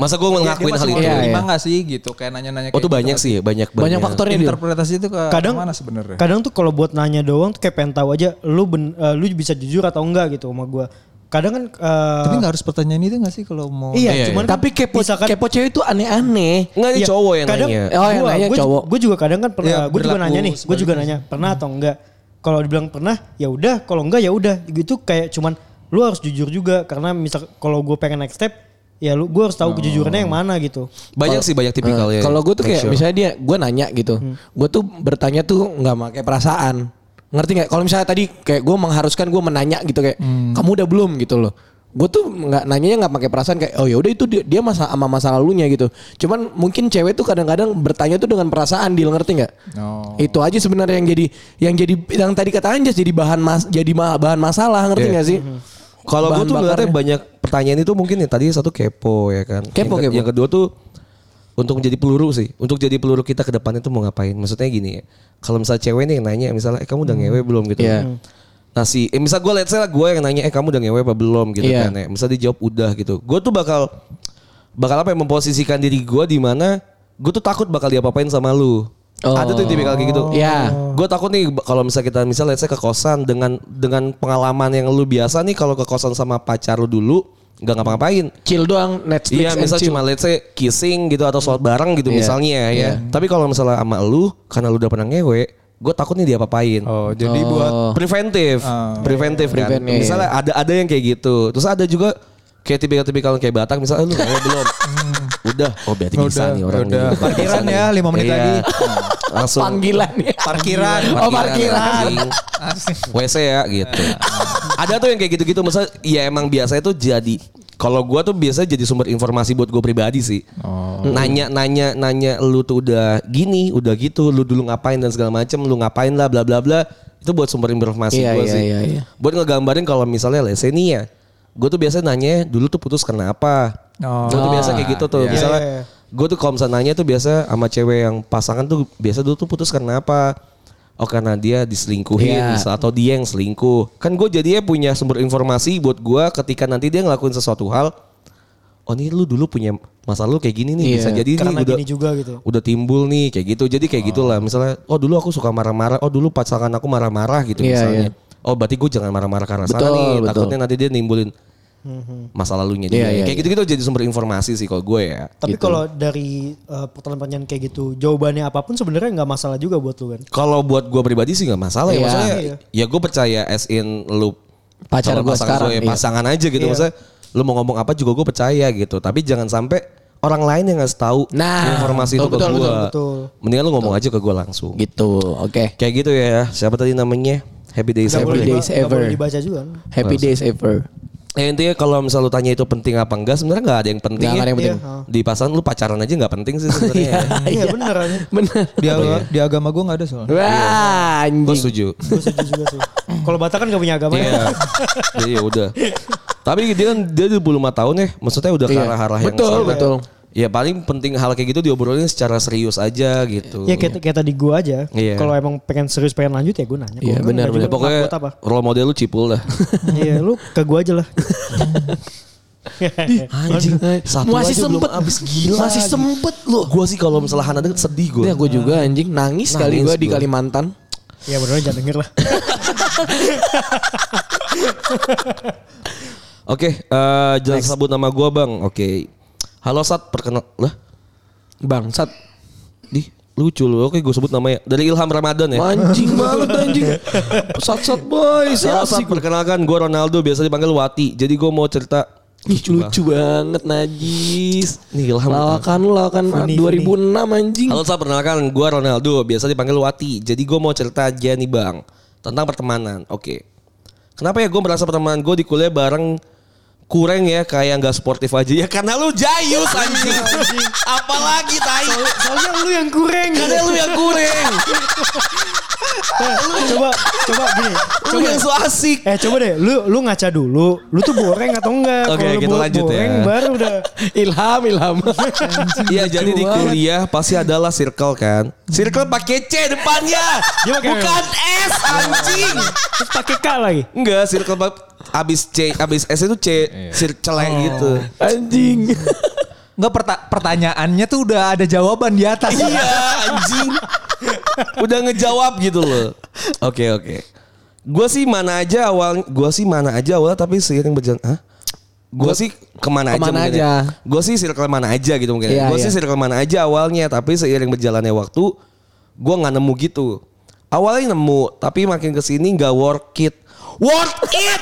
D: Masa gua ngelakuin hal itu?
E: Iya,
B: Iya, iya.
E: nggak sih gitu kayak nanya-nanya
D: Oh tuh banyak sih, banyak
B: Banyak faktornya dia.
E: interpretasi itu ke
C: kadang
E: mana sebenarnya?
C: kadang tuh kalau buat nanya doang tuh kayak pengen tahu aja lu ben- eh, lu bisa jujur atau enggak gitu sama gua kadang kan eh,
E: Tapi nggak harus pertanyaan itu nggak sih kalau mau
C: iya,
D: Iya,
C: cuman
B: Tapi kepo,
C: misalkan-
B: kepo cewek itu aneh-aneh.
D: Enggak ini
C: Iya,
D: cowok yang
C: kadang,
D: nanya.
B: Oh, yang nanya cowok.
C: Gue juga kadang kan pernah,
E: Iya,
C: gue juga
E: berlaku
C: nanya nih, gue juga nanya pernah atau enggak. Kalau dibilang pernah, ya udah. Kalau enggak, ya udah. Gitu kayak cuman lu harus jujur juga karena misal kalau gue pengen next step, ya lu gue harus tahu kejujurannya yang mana gitu.
D: Banyak sih banyak
B: Eh,
D: tipikalnya.
B: Kalau gue tuh
D: Make
B: kayak
D: sure.
B: misalnya dia, gue nanya gitu, gue tuh bertanya tuh nggak pakai perasaan, ngerti nggak? Kalau misalnya tadi kayak gue mengharuskan gue menanya gitu kayak, kamu udah belum gitu loh. Gue tuh nggak nanyanya nggak pakai perasaan kayak, oh ya udah itu dia, dia masa sama masa lalunya gitu. Cuman mungkin cewek tuh kadang-kadang bertanya tuh dengan perasaan, deal ngerti nggak?
E: Oh.
B: Itu aja sebenarnya yang jadi, yang jadi yang tadi kata Anjas jadi bahan mas, jadi ma- bahan masalah ngerti
D: Iya.
B: nggak sih?
D: Kalau gue
B: Bahan
D: tuh ngeliatnya
B: bakarnya.
D: banyak pertanyaan itu mungkin ya tadi satu kepo ya kan.
B: Kepo,
D: yang, ke-
B: kepo.
D: yang kedua tuh untuk menjadi peluru sih. Untuk jadi peluru kita ke depannya tuh mau ngapain. Maksudnya gini ya. Kalau misalnya cewek nih yang nanya misalnya eh kamu udah ngewe belum gitu.
B: Iya.
D: kan. Nah si, eh, misal gue liat saya gue yang nanya eh kamu udah ngewe apa belum gitu
B: Iya.
D: kan ya. Misal dia jawab udah gitu. Gue tuh bakal bakal apa ya memposisikan diri gue di mana gue tuh takut bakal diapa-apain sama lu.
B: Oh.
D: Ada tuh tipikal kayak gitu.
B: Iya.
E: Oh.
D: Gue takut nih b- kalau misalnya kita misalnya saya ke kosan dengan dengan pengalaman yang lu biasa nih kalau ke kosan sama pacar lu dulu nggak ngapa-ngapain.
B: Chill doang Netflix
D: Iya,
B: and
D: misalnya
B: chill.
D: cuma let's say kissing gitu atau sholat bareng gitu
B: Iya.
D: misalnya ya.
B: Iya.
D: Tapi kalau misalnya sama lu karena lu udah pernah ngewe, gue takut nih dia apain
E: Oh, Ah. jadi buat
D: preventif, preventif kan.
B: Prevent, iya.
D: Misalnya ada ada yang kayak gitu. Terus ada juga kayak tipikal-tipikal yang kayak Batak misalnya "Eh, lu ngewe belum. Udah, oh berarti bisa nih orang
E: Hmm. udah.
D: nih.
E: Parkiran
D: Bisa
E: ya,
D: nih.
E: lima menit
D: Iya.
E: lagi.
D: Langsung
B: panggilan ya.
E: parkiran.
D: Iya,
B: Oh, parkiran.
D: anjing. WC Iya. ya gitu. Ada tuh yang kayak gitu-gitu masa ya emang biasanya tuh jadi kalau gua tuh biasanya jadi sumber informasi buat gue pribadi sih.
B: Oh.
D: Nanya nanya nanya lu tuh udah gini, udah gitu, lu dulu ngapain dan segala macem, lu ngapain lah bla bla bla. Itu buat sumber informasi
B: Iya,
D: gua
B: iya,
D: sih.
B: iya, iya.
D: Buat ngegambarin kalau misalnya let's say nih ya. Gue tuh biasanya nanya dulu tuh putus karena apa.
E: Oh.
D: Gue tuh biasa kayak gitu tuh.
E: Iya.
D: Misalnya
C: Iya, iya, iya.
D: gue tuh kalau misalnya nanya tuh biasa sama cewek yang pasangan tuh biasa dulu tuh putus karena apa? Oh karena dia diselingkuhin
B: Iya.
D: misal, atau dia yang selingkuh. Kan gue jadinya punya sumber informasi buat gue ketika nanti dia ngelakuin sesuatu hal. Oh ini lu dulu punya masa lu kayak gini nih
B: Iya.
D: bisa jadi
C: Karena
D: nih udah,
C: gini juga gitu.
D: udah timbul nih kayak gitu. Jadi kayak gitulah misalnya. Oh dulu aku suka marah-marah. Oh dulu pasangan aku marah-marah gitu
B: Iya,
D: misalnya. Oh berarti gue jangan marah-marah karena sana
B: Betul,
D: nih.
B: betul.
D: Takutnya nanti dia nimbulin masa lalunya dia.
B: Iya, iya,
D: kayak
B: iya.
D: gitu-gitu jadi sumber informasi sih kalau gue ya.
C: Tapi
D: Gitu.
C: kalau dari eh, pertanyaan-pertanyaan kayak gitu, jawabannya apapun sebenarnya nggak masalah juga buat lu kan.
D: Kalau buat gue pribadi sih nggak masalah
B: Iya.
D: ya. Maksudnya
C: Iya.
D: ya gue percaya as in lu
B: Pacar
D: sama
B: gua
D: pasangan
B: sekarang,
D: gua ya
B: iya.
D: pasangan aja gitu. Maksudnya lu mau ngomong apa juga gue percaya gitu. Tapi jangan sampai orang lain yang ngasih tahu
B: Nah,
D: informasi itu
B: betul,
D: ke
B: betul,
D: gue.
C: betul, betul.
D: Mendingan lu ngomong aja ke gue langsung.
B: Gitu. Oke.
D: Kayak gitu ya. Siapa tadi namanya? Happy Days
C: Nggak
D: Ever.
B: Happy
C: boleh
D: ya?
C: diba-
B: days
C: nggak
B: ever.
C: boleh dibaca juga kan.
B: Happy days ever.
D: Ya, intinya kalau misal lu tanya itu penting apa enggak, sebenarnya nggak ada yang penting.
B: Nggak ada yang penting. Oh.
D: Iya. Di pasangan lu pacaran aja nggak penting sih sebenarnya.
C: Iya bener aja.
B: Bener.
E: Di,
D: ya?
E: aga- di agama gue nggak ada soalnya.
B: Wah,
D: gue
B: anjing.
D: setuju.
C: Gue setuju juga sih. Kalau Batak kan gak punya agama
D: Iya.
C: ya.
D: Jadi ya udah. Tapi dia kan dia 25 tahun ya, maksudnya udah ke
B: Iya.
D: arah-arah yang
B: Betul,
D: sana.
B: betul.
D: Ya paling penting hal kayak gitu diobrolin secara serius aja gitu.
C: Ya kayak, kayak tadi gue aja.
D: Iya.
C: Kalau emang pengen serius pengen lanjut ya gue nanya.
B: Iya,
C: Kalau
B: benar,
C: enggak
D: Ya,
C: juga,
D: pokoknya
C: buat apa?
D: role model lu cipul dah.
C: Iya lu ke gue aja lah.
B: Eh,
D: Anjing, satu
B: Masih
D: aja belum
B: sempet.
D: abis gila.
B: Masih
D: gitu.
B: sempet loh.
D: Gua sih kalau misalnya Hana deket sedih gua.
B: Ya gue juga anjing nangis, kali
D: Nangis
B: gue di
D: gua.
B: Kalimantan.
C: ya beneran jangan denger lah.
D: Oke, eh, jangan sebut nama gua, Bang. Oke. Halo Sat, perkenal lah.
B: Bangsat.
D: Di lucu lu. Oke, gue sebut namanya. Dari Ilham Ramadan ya.
B: Anjing banget anjing. Sat-sat boy.
D: Halo
B: Siapa sih
D: Sat,
B: gua?
D: perkenalkan gue Ronaldo biasa dipanggil Wati. Jadi gue mau cerita
B: Ih, lucu banget najis.
D: Nih Ilham.
B: Lawakan lu lawakan 2006 anjing.
D: Halo Sat, perkenalkan gue Ronaldo biasa dipanggil Wati. Jadi gue mau cerita aja nih bang tentang pertemanan. Oke. Kenapa ya gue merasa pertemanan gue di kuliah bareng kurang ya kayak nggak sportif aja ya karena lu jayus anjing apalagi tai
C: Soalnya lu yang kurang.
D: karena lu yang kurang
C: coba coba gini.
D: lu yang so asik
C: Eh coba deh lu lu ngaca dulu. Lu tuh boreng atau enggak?
D: Oke,
C: Kalau lu
D: kita
C: bo-
D: lanjut ya.
C: boreng baru udah.
B: Ilham, Ilham.
D: Iya jadi di kuliah pasti adalah circle kan. Circle pakai C depannya.
C: Dia pakai
D: Bukan S anjing.
C: Terus pakai K lagi.
D: Enggak, circle pa- Abis C, abis S itu C, circle gitu.
B: Anjing.
E: Enggak perta- pertanyaannya tuh udah ada jawaban di atas.
D: Iya anjing. Udah ngejawab gitu loh. Oke oke. Gue sih mana aja awal, gue sih mana aja awal tapi seiring berjalan, hah? Gue sih kemana,
B: Kemana
D: aja,
B: aja.
D: Gue sih circle mana aja gitu mungkin.
B: Iya,
D: gue sih
B: iya.
D: circle mana aja awalnya, tapi seiring berjalannya waktu, gue nggak nemu gitu. Awalnya nemu, tapi makin kesini nggak worth it. Worth it?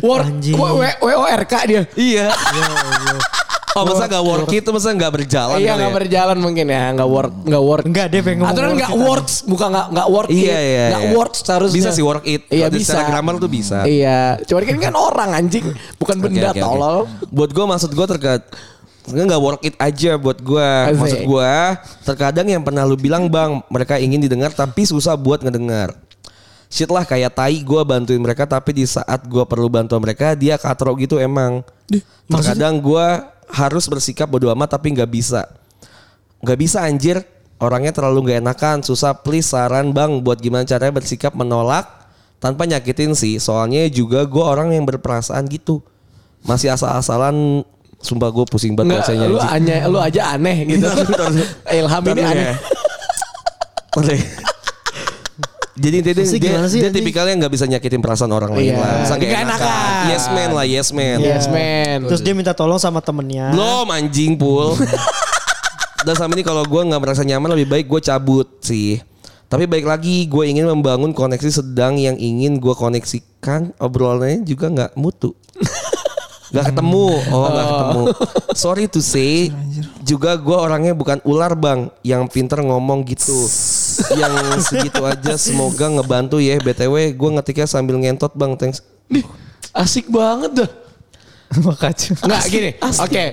C: It
B: War,
C: anjing.
B: W- W- WORK dia.
D: iya. Oh masa nggak worth it, masa nggak berjalan?
B: Iya
D: kali
B: nggak
D: ya?
B: berjalan mungkin ya, nggak work, nggak work.
C: Enggak, dia pengen ngomong
B: Aturan
C: work
B: nggak
C: it aja.
B: works, bukan nggak nggak work.
D: kan. Iya,
B: it.
D: iya,
B: Nggak
D: iya.
B: works harusnya.
D: Bisa sih work it.
B: Iya
D: Kalau
B: bisa.
D: secara grammar tuh bisa.
B: Iya, cuman kan kan orang anjing, bukan
D: Oke,
B: benda
D: oke, oke.
B: tolol.
D: Buat gue maksud gue terkait Sebenernya gak work it aja buat gue
B: Asik.
D: Maksud gue Terkadang yang pernah lu bilang bang Mereka ingin didengar tapi susah buat ngedengar Shit lah kayak tai gue bantuin mereka Tapi di saat gue perlu bantuan mereka Dia katro gitu emang Terkadang gue harus bersikap bodo amat Tapi gak bisa Gak bisa anjir Orangnya terlalu gak enakan Susah please saran bang Buat gimana caranya bersikap menolak Tanpa nyakitin sih Soalnya juga gue orang yang berperasaan gitu Masih asal-asalan Sumpah gue pusing banget
B: Nggak,
D: bahasanya
B: lu
D: anjing.
B: hanya lu aja aneh gitu. Ilham ini
D: Ntar dulu
B: aneh.
D: ya. Ntar deh. Jadi intinya
C: Sih,
D: dia,
C: gimana sih
D: dia
C: anjing?
D: tipikalnya nggak bisa nyakitin perasaan orang
B: Iya.
D: lain lah. Masa nggak
B: Nggak
D: enakan.
B: enakan.
D: Yes man lah, yes man.
C: Iya.
B: Yes man.
C: Terus dia minta tolong sama temennya.
D: Belum anjing pul. Dan sama ini kalau gue nggak merasa nyaman lebih baik gue cabut sih. Tapi baik lagi gue ingin membangun koneksi sedang yang ingin gue koneksikan obrolannya juga nggak mutu. Gak ketemu, oh gak ketemu. Sorry to say, juga gue orangnya bukan ular bang, yang pinter ngomong gitu. yang segitu aja, semoga ngebantu ya. BTW gue ngetiknya sambil ngentot bang, thanks.
B: Dih, asik banget dah.
E: Makasih.
B: Nggak gini. Oke.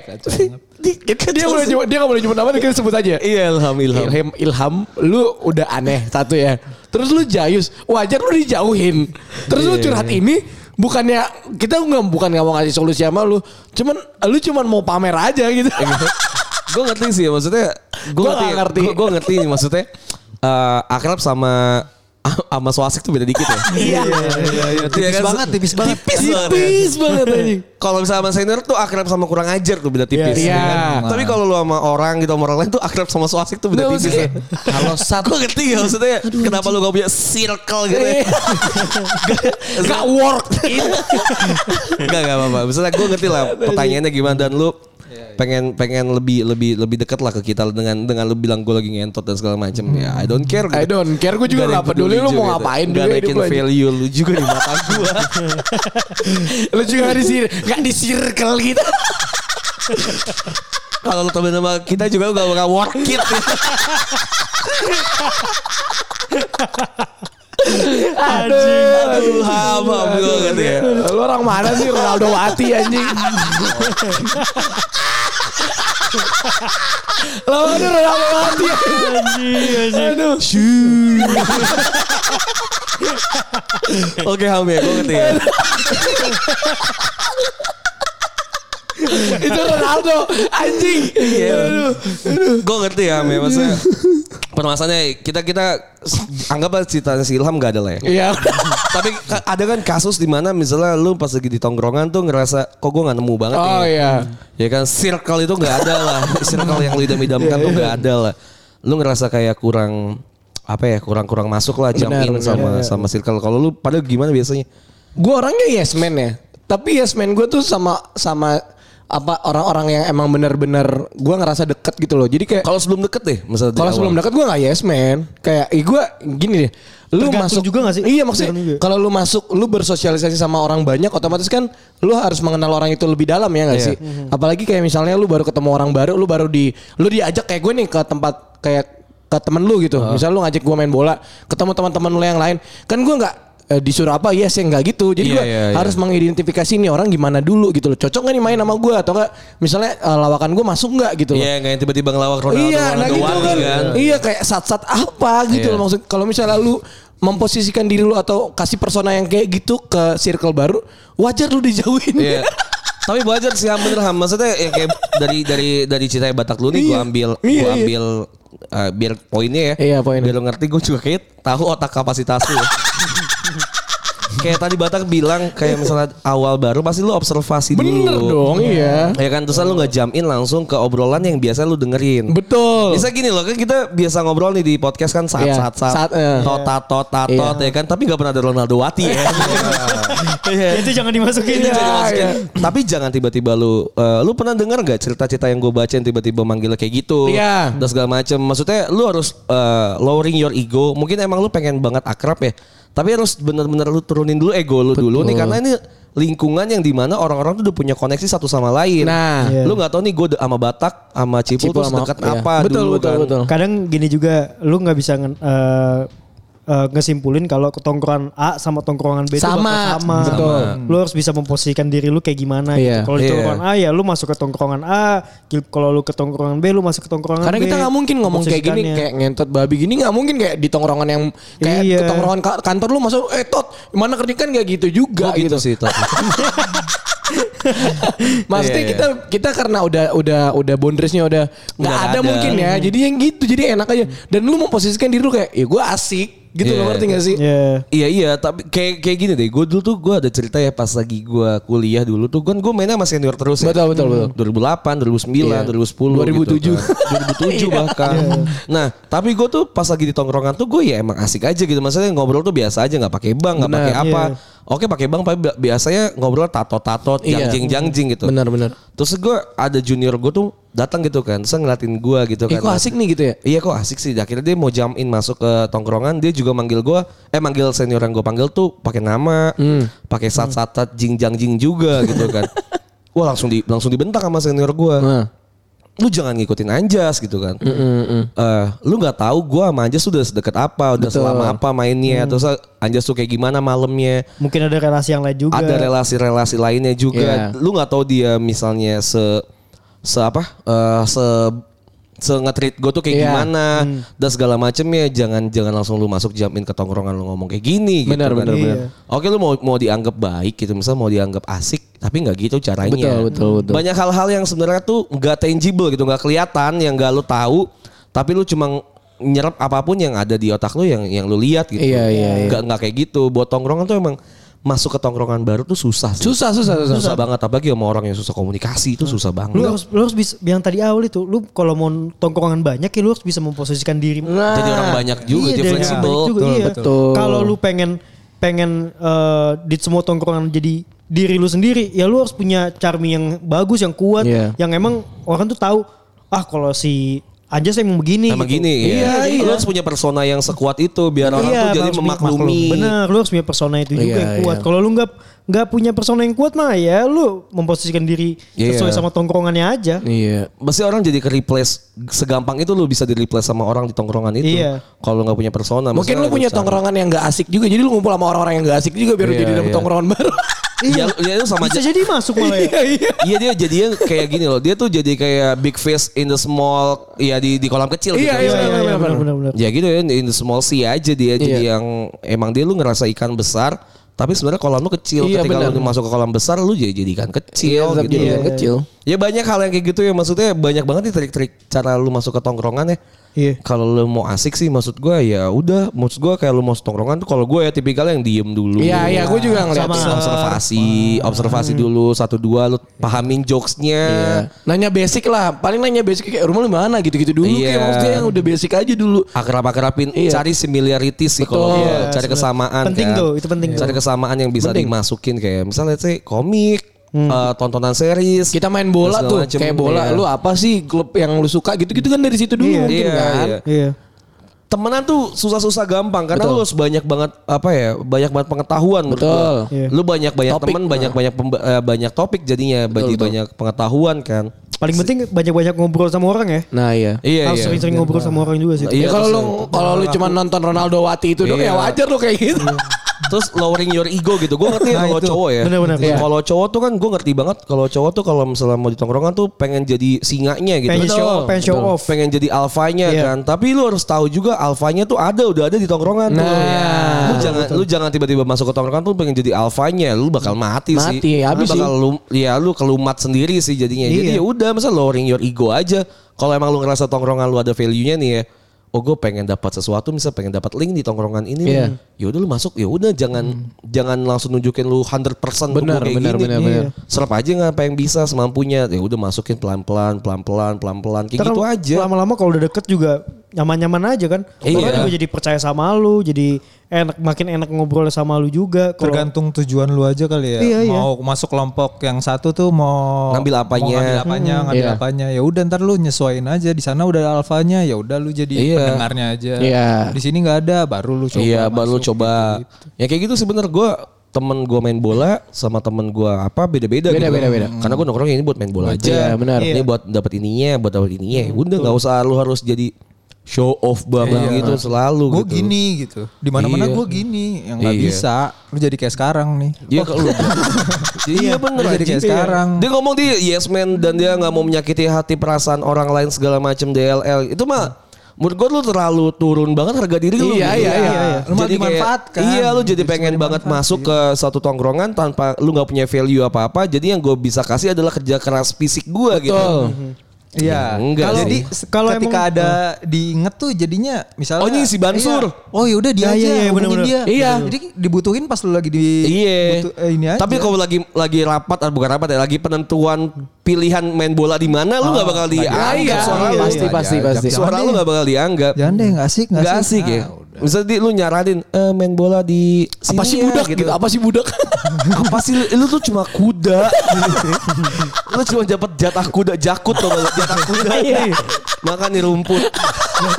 B: Itu dia boleh nyebut dia nggak boleh nyebut nama kita sebut aja.
D: Iya ilham, ilham.
B: Ilham, Ilham, lu udah aneh satu ya. Terus lu jayus, wajar lu dijauhin. Terus lu curhat ini bukannya kita nggak bukan nggak mau ngasih solusi sama lu, cuman lu cuman mau pamer aja gitu.
D: gue ngerti sih maksudnya gue
B: Gua
D: ngerti
B: nggak ngerti.
D: gue ngerti nih, maksudnya eh akrab sama sama swasik tuh beda dikit ya
B: Iya.
D: tipis
E: banget, tipis banget.
D: Iya kan? tipis banget,
B: Tipis banget anjing.
D: kalau misalnya sama senior tuh akrab sama kurang ajar tuh beda tipis
B: Iya.
D: ya kan? tapi kalau lu sama orang gitu sama orang lain tuh akrab sama swasik tuh beda
B: Nggak,
D: tipis
B: maksudnya-
D: kalau satu gue ngerti ya maksudnya kenapa lu gak punya circle gitu ya
B: Gak work.
D: Enggak enggak apa-apa. Maksudnya gue ngerti lah pertanyaannya gimana dan lu pengen pengen lebih lebih lebih dekat lah ke kita dengan dengan lu bilang gue lagi ngentot dan segala macam ya I don't care
B: I don't care, gua juga nggak peduli lu
D: gitu.
B: mau ngapain
D: gak
B: juga
D: naikin
B: hidup lu aja.
D: value lu juga di mata gue
B: lu juga gak di sini, gak di circle gitu.
D: kalau lu temen sama kita juga lu gak bakal work it
C: Anjing.
D: aduh ham ham gue gitu ya
B: Lu orang mana sih Ronaldo Wati anjing? Lo ini Ronaldo Wati.
C: Anjing, anjing.
B: Aduh.
D: oke ham ya gue ngerti ya
B: Itu Ronaldo anjing. Aduh.
D: gue Iya. ngerti ya ham ya maksudnya permasalahannya kita kita anggap aja cerita si Ilham gak ada lah ya
B: Iya.
D: Tapi ka- ada kan kasus di mana misalnya lu pas lagi di tongkrongan tuh ngerasa kok gue nggak nemu banget ya.
B: Oh iya.
D: Ya kan circle itu nggak ada lah. circle yang lu idam-idamkan
B: Iya,
D: tuh nggak ada lah. Lu ngerasa kayak kurang apa ya kurang kurang masuk lah jam
B: Benar, Iya,
D: in
B: benar.
D: sama sama circle. Kalau lu pada gimana biasanya?
B: Gue orangnya yes man ya. Tapi yes man gue tuh sama sama apa orang-orang yang emang bener-bener gue ngerasa deket gitu loh. Jadi kayak
D: Kalau sebelum deket deh, misalnya
B: Kalau sebelum dekat gue gak yes man. Kayak eh, gue gini deh. Lu
C: Tergantung
B: masuk
C: juga nggak sih?
B: Iya maksudnya
C: Tergantung juga.
B: kalau lu masuk lu bersosialisasi sama orang banyak otomatis kan lu harus mengenal orang itu lebih dalam ya gak
D: Iya.
B: sih?
D: Mhm.
B: Apalagi kayak misalnya lu baru ketemu orang baru, lu baru di lu diajak kayak gue nih ke tempat kayak ke temen lu gitu. Misalnya lu ngajak gue main bola, ketemu teman-teman lu yang lain. Kan gue nggak eh, disuruh apa yes ya nggak gitu jadi
D: Iya,
B: gue
D: iya, iya.
B: harus mengidentifikasi nih orang gimana dulu gitu loh cocok gak nih main sama gue atau enggak misalnya eh, lawakan gue masuk nggak gitu loh
D: Iya, nggak yang tiba-tiba ngelawak Ronaldo
B: iya, nah
D: Ronaldo
B: gitu
D: Wani
B: kan. Iya kayak sat-sat apa gitu
D: Iya.
B: loh maksud. Kalau misalnya lu memposisikan diri lu atau kasih persona yang kayak gitu ke circle baru, wajar lu dijauhin.
D: Iya. Tapi wajar sih Ham bener Ham. Maksudnya ya kayak dari dari dari cerita Batak lu nih gue
B: Iya.
D: ambil
B: Iya,
D: gue
B: iya.
D: ambil eh, biar poinnya ya.
B: Iya, poinnya.
D: Biar lu ngerti gue juga kayak tahu otak kapasitas lu. ya. kayak tadi Batak bilang kayak misalnya awal baru pasti lu observasi dulu.
B: Bener dong, iya.
D: Ya kan terus lu nggak jump in langsung ke obrolan yang biasa lu dengerin.
B: Betul.
D: Bisa gini loh kan kita biasa ngobrol nih di podcast kan saat
B: Iya,
D: saat saat,
B: saat, eh.
D: tota tota
B: Iya.
D: tot ya kan tapi nggak pernah ada Ronaldo Wati ya. Iya.
C: itu jangan dimasukin
D: Ini
B: Iya,
C: ya.
D: jadi masukin. Tapi jangan tiba-tiba lu eh, lu pernah dengar nggak cerita-cerita yang gue baca yang tiba-tiba manggil kayak gitu.
B: Iya.
D: Dan segala macem. Maksudnya lu harus eh, lowering your ego. Mungkin emang lu pengen banget akrab ya. Tapi harus bener-bener lu turunin dulu ego lu dulu nih karena ini lingkungan yang dimana orang-orang tuh udah punya koneksi satu sama lain.
B: Nah.
C: Iya.
D: lu nggak tahu nih gue sama Batak, sama
B: Cipul
D: Cipul, terus
B: sama-
D: deket
B: iya.
D: apa
B: Betul,
D: dulu
B: betul,
D: kan.
B: betul.
C: Kadang gini juga lu nggak bisa nge- eh, eh, ngesimpulin kalau ketongkrongan A sama tongkrongan B itu
B: Sama.
C: bakal sama.
B: Betul.
C: Lu harus bisa memposisikan diri lu kayak gimana
B: Iya.
C: gitu. Kalau di
D: Iya.
C: tongkrongan A ya lu masuk ke tongkrongan A, Ki- kalau lu ke tongkrongan B lu masuk ke tongkrongan
B: Karena
C: B.
B: kita nggak mungkin ngomong kayak gini
C: Posisikannya.
B: kayak ngentot babi gini nggak mungkin kayak di tongkrongan yang kayak
C: Iya.
B: ke tongkrongan ka- kantor lu masuk eh tot mana kerja kan gak gitu juga
D: Gua
B: gitu.
D: gitu sih. Tot.
B: Maksudnya
D: Iya, iya.
B: kita kita karena udah udah udah boundariesnya udah nggak
D: Nggak
B: ada,
D: ada.
B: mungkin ya. Jadi yang gitu jadi enak aja. Dan lu memposisikan diri lu kayak ya gue asik gitu
D: Iya.
B: loh ngerti gak sih?
C: Iya.
D: Iya iya tapi kayak kayak gini deh. Gue dulu tuh gue ada cerita ya pas lagi gue kuliah dulu tuh kan gue mainnya sama senior terus. Ya.
B: Betul, betul, betul.
D: 2008, 2009,
B: Iya.
D: 2010,
B: 2007.
D: gitu kan. 2007
B: Iya.
D: bahkan. Nah tapi gue tuh pas lagi di tongkrongan tuh gue ya emang asik aja gitu. Maksudnya ngobrol tuh biasa aja nggak pakai bang, nggak
B: Benar,
D: pakai apa.
C: iya.
D: Oke pakai bang, tapi bi- biasanya ngobrol tato-tato,
B: Iya.
D: jangjing-jangjing gitu.
B: Benar benar.
D: Terus gue ada junior gue tuh datang gitu kan, terus ngeliatin gue gitu
B: Ih
D: kan.
B: kok asik nih gitu ya?
D: Iya kok asik sih. Akhirnya dia mau jump in masuk ke tongkrongan. Dia juga manggil gua Eh manggil senior yang gue panggil tuh pakai nama. Pakai sat-satat jingjang jing juga gitu kan. Wah langsung di langsung dibentak sama senior gua
B: Nah.
D: Lu jangan ngikutin Anjas gitu kan. Eh, lu nggak tahu gua sama Anjas udah sedekat apa. Udah selama apa mainnya. Terus Anjas tuh kayak gimana malamnya
C: Mungkin ada relasi yang lain juga.
D: ada relasi-relasi lainnya juga.
B: Iya.
D: Lu nggak tahu dia misalnya se se apa eh, se se ngetreat gue tuh kayak
B: Iya.
D: gimana dan segala macemnya jangan jangan langsung lu masuk jamin ke tongkrongan lu ngomong kayak gini
B: Benar,
D: gitu kan.
B: benar,
C: benar.
D: oke lu mau mau dianggap baik gitu misalnya mau dianggap asik tapi nggak gitu caranya
B: Betul, betul, betul.
D: banyak hal-hal yang sebenarnya tuh nggak tangible gitu nggak kelihatan yang nggak lu tahu tapi lu cuma nyerap apapun yang ada di otak lu yang yang lu lihat gitu
B: Iya, iya, iya.
D: nggak nggak kayak gitu buat tongkrongan tuh emang masuk ke tongkrongan baru tuh susah sih.
B: Susah susah susah.
D: susah, banget apalagi sama orang yang susah komunikasi itu susah banget
C: Lu harus, lu harus bisa yang tadi awal itu lu kalau mau tongkrongan banyak ya lu harus bisa memposisikan diri
B: Nah.
D: jadi orang banyak juga
C: Iya,
D: jadi
C: dan
D: fleksibel
C: balik juga,
D: Betul,
C: iya.
D: betul.
B: Betul.
C: Kalau lu pengen pengen eh, di semua tongkrongan jadi diri lu sendiri, ya lu harus punya charming yang bagus, yang kuat,
B: Iya.
C: yang emang orang tuh tahu ah kalau si aja saya emang begini.
D: Nah, Sama
C: gitu.
D: gini
C: Iya,
D: ya.
C: iya.
D: Lu harus punya persona yang sekuat itu biar orang
C: Iya,
D: tuh jadi
C: harus punya
D: memaklumi.
C: maklum. Bener, lu harus punya persona itu juga
B: Iya,
C: yang kuat.
B: iya.
C: Kalau lu nggak nggak punya persona yang kuat mah ya lu memposisikan diri
D: Iya.
C: sesuai sama tongkrongannya aja.
B: Iya.
D: Pasti orang jadi ke replace segampang itu lu bisa di replace sama orang di tongkrongan itu.
C: Iya.
D: Kalau nggak punya persona.
B: Mungkin
D: Maksudnya
B: lu punya
D: ada cara.
B: tongkrongan yang gak asik juga. Jadi lu ngumpul sama orang-orang yang gak asik juga biar lu
D: Iya,
B: jadi dapet
D: iya.
B: tongkrongan baru.
D: Iya, iya lu sama
C: Bisa
D: aja.
C: jadi masuk malah ya.
D: Iya dia jadinya kayak gini loh. Dia tuh jadi kayak big face in the small ya di di kolam
B: Iya,
D: kecil gitu.
B: iya, iya, iya,
C: bener, bener, bener.
D: Ya gitu ya in the small sea aja dia jadi yang emang dia lu ngerasa ikan besar tapi sebenarnya kolam lu kecil
B: Iya, benar.
D: ketika lu masuk ke kolam besar lu jadi, jadi ikan
B: Iya,
D: kecil
B: tetap
D: gitu.
B: jadi yang kecil.
D: Ya banyak hal yang kayak gitu ya maksudnya banyak banget nih trik-trik cara lu masuk ke tongkrongan ya.
C: Iya.
D: Kalau lu mau asik sih maksud gua ya udah maksud gua kayak lu mau tongkrongan tuh kalau gua ya tipikal yang diem dulu.
B: Iya, iya, gue juga Hmm. ngeliat.
D: Sama observasi, observasi dulu satu dua lu pahamin jokesnya.
B: Iya. Nanya basic lah, paling nanya basic kayak rumah lu mana gitu-gitu dulu
D: Iya.
B: kayak maksudnya yang udah basic aja dulu.
D: akrab-akrabin
B: Iya.
D: cari similarity sih
B: Betul.
D: kalau
C: Iya,
D: gua. cari kesamaan
C: Penting
D: kan.
C: tuh, itu penting
D: cari
C: tuh.
D: kesamaan yang bisa dimasukin kayak misalnya sih komik
C: Hmm.
D: eh, tontonan series
B: Kita main bola
D: Terus
B: tuh,
D: segala macem,
B: kayak bola
D: iya.
B: lu apa sih klub yang lu suka gitu-gitu kan dari situ dulu
C: Iya,
B: mungkin
D: iya,
B: kan.
D: iya.
C: Iya.
D: temenan tuh susah-susah gampang karena lu harus banyak banget apa ya banyak banget pengetahuan menurut
B: Betul.
D: gua.
C: Iya.
D: lu banyak banyak
B: Topik.
D: teman banyak banyak pemba- eh, banyak topik jadinya banyak banyak pengetahuan kan
C: Paling penting banyak-banyak ngobrol sama orang ya.
B: Nah, iya.
D: iya
C: harus
D: iya
C: sering-sering ngobrol sama orang juga sih.
B: Ya
D: Iya,
B: kalau
D: terus
B: lu kalau lu cuma nonton Ronaldo Wati itu dong
D: Iya.
B: ya wajar lu kayak gitu.
D: terus lowering your ego gitu. Gue ngerti kalau cowok ya.
C: Nah, Bener-bener.
D: Iya. Kalau cowok tuh kan gue ngerti banget kalau cowok tuh kalau misalnya mau di tongkrongan tuh pengen jadi singanya gitu.
C: Pengen
D: Betul.
C: show off, pengen show
D: Betul.
C: off.
D: Pengen jadi alfanya
C: Iya.
D: kan. Tapi lu harus tahu juga alfanya tuh ada udah ada di tongkrongan tuh.
B: Iya.
D: Lu jangan lu jangan tiba-tiba masuk ke tongkrongan tuh pengen jadi alfanya, lu bakal mati, sih.
B: Mati, habis
D: lu bakal lu ya lu kelumat sendiri sih jadinya. Jadi
C: Iya.
D: ya udah masa lowering your ego aja. Kalau emang lu ngerasa tongkrongan lu ada value-nya nih ya. oh gue pengen dapat sesuatu misal pengen dapat link di tongkrongan ini
B: Iya. Hmm.
D: ya udah lu masuk ya udah jangan jangan langsung nunjukin lu 100% tuh gua
B: Benar,
D: kayak
B: benar,
D: gini
B: benar,
D: Iya.
B: benar.
D: serap aja nggak apa yang bisa semampunya ya udah masukin pelan-pelan pelan-pelan pelan-pelan kayak
C: Ntar
D: gitu
C: kalau
D: aja
C: Lama-lama kalau udah deket juga nyaman-nyaman aja kan.
D: Iya.
C: Orang juga jadi percaya sama lu, jadi enak makin enak ngobrol sama lu juga. Kalau
E: Tergantung tujuan lu aja kali ya.
C: Iya, iya.
E: Mau masuk kelompok yang satu tuh mau
D: Ngambil apanya. Hmm.
E: mau ngambil apanya, ngambil
B: iya.
E: apanya. Ya udah ntar lu nyesuaiin aja. Di sana udah ada alfanya, ya udah lu jadi
D: Iya.
E: pendengarnya aja.
B: Iya.
E: Di sini nggak ada, baru lu coba.
D: iya baru coba ya kayak gitu sebenernya gue temen gue main bola sama temen gue apa beda-beda
B: Beda,
D: gitu kan.
B: beda, beda.
D: karena gue nongkrong ya ini buat main bola aja
B: Iya, benar.
D: ini buat dapat ininya buat dapat ininya udah nggak usah lu harus jadi show off banget
B: Iya.
D: gitu selalu
E: Gue
D: gitu
E: gini gitu. Di mana-mana
D: Iya.
E: gue gini, yang nggak
D: Iya.
E: bisa. Lu jadi kayak sekarang nih.
D: Iya kalau Iya bener
E: Lu jadi
D: anjing.
E: kayak sekarang.
D: Dia ngomong dia yes man dan dia nggak mau menyakiti hati perasaan orang lain segala macam DLL. Itu mah menurut gue lu terlalu turun banget harga diri lu. gitu.
B: Iya, iya, iya, iya.
D: Jadi
E: Lu malah
D: kayak-
E: dimanfaatkan.
D: Iya lu jadi pengen banget masuk ke satu tongkrongan tanpa lu nggak punya value apa-apa. Jadi yang gue bisa kasih adalah kerja keras fisik gue gitu.
E: Iya.
D: Enggak
E: Kalau
D: sih.
E: jadi
C: Kalau
E: kalau ketika
C: emang-
E: ada diinget tuh jadinya misalnya
D: Oh, ini si Bansur.
E: Iya. Oh, ya udah dia
C: Iya,
E: aja.
C: iya, iya,
E: hubungin
C: bener-bener.
E: dia.
B: Iya.
E: Jadi dibutuhin pas lu lagi di
D: Iya.
E: butuh- eh, ini aja.
D: Gitu. Tapi kalau lagi lagi rapat ah, bukan rapat ya, lagi penentuan pilihan main bola di mana lu nggak bakal dianggap
B: iya,
D: suara lu.
B: pasti, pasti, pasti.
D: Suara lu nggak bakal dianggap.
E: Jangan deh, nggak asik, nggak
D: Gak
E: asik.
D: asik ya. Misalnya di, lu nyaranin eh, main bola di sini
B: Apa sih
D: ya,
B: budak gitu? Apa sih budak?
D: Iya, Apa sih lu, lu tuh cuma kuda. lu cuma dapat jatah kuda jakut tuh jatah kuda. Makan di rumput.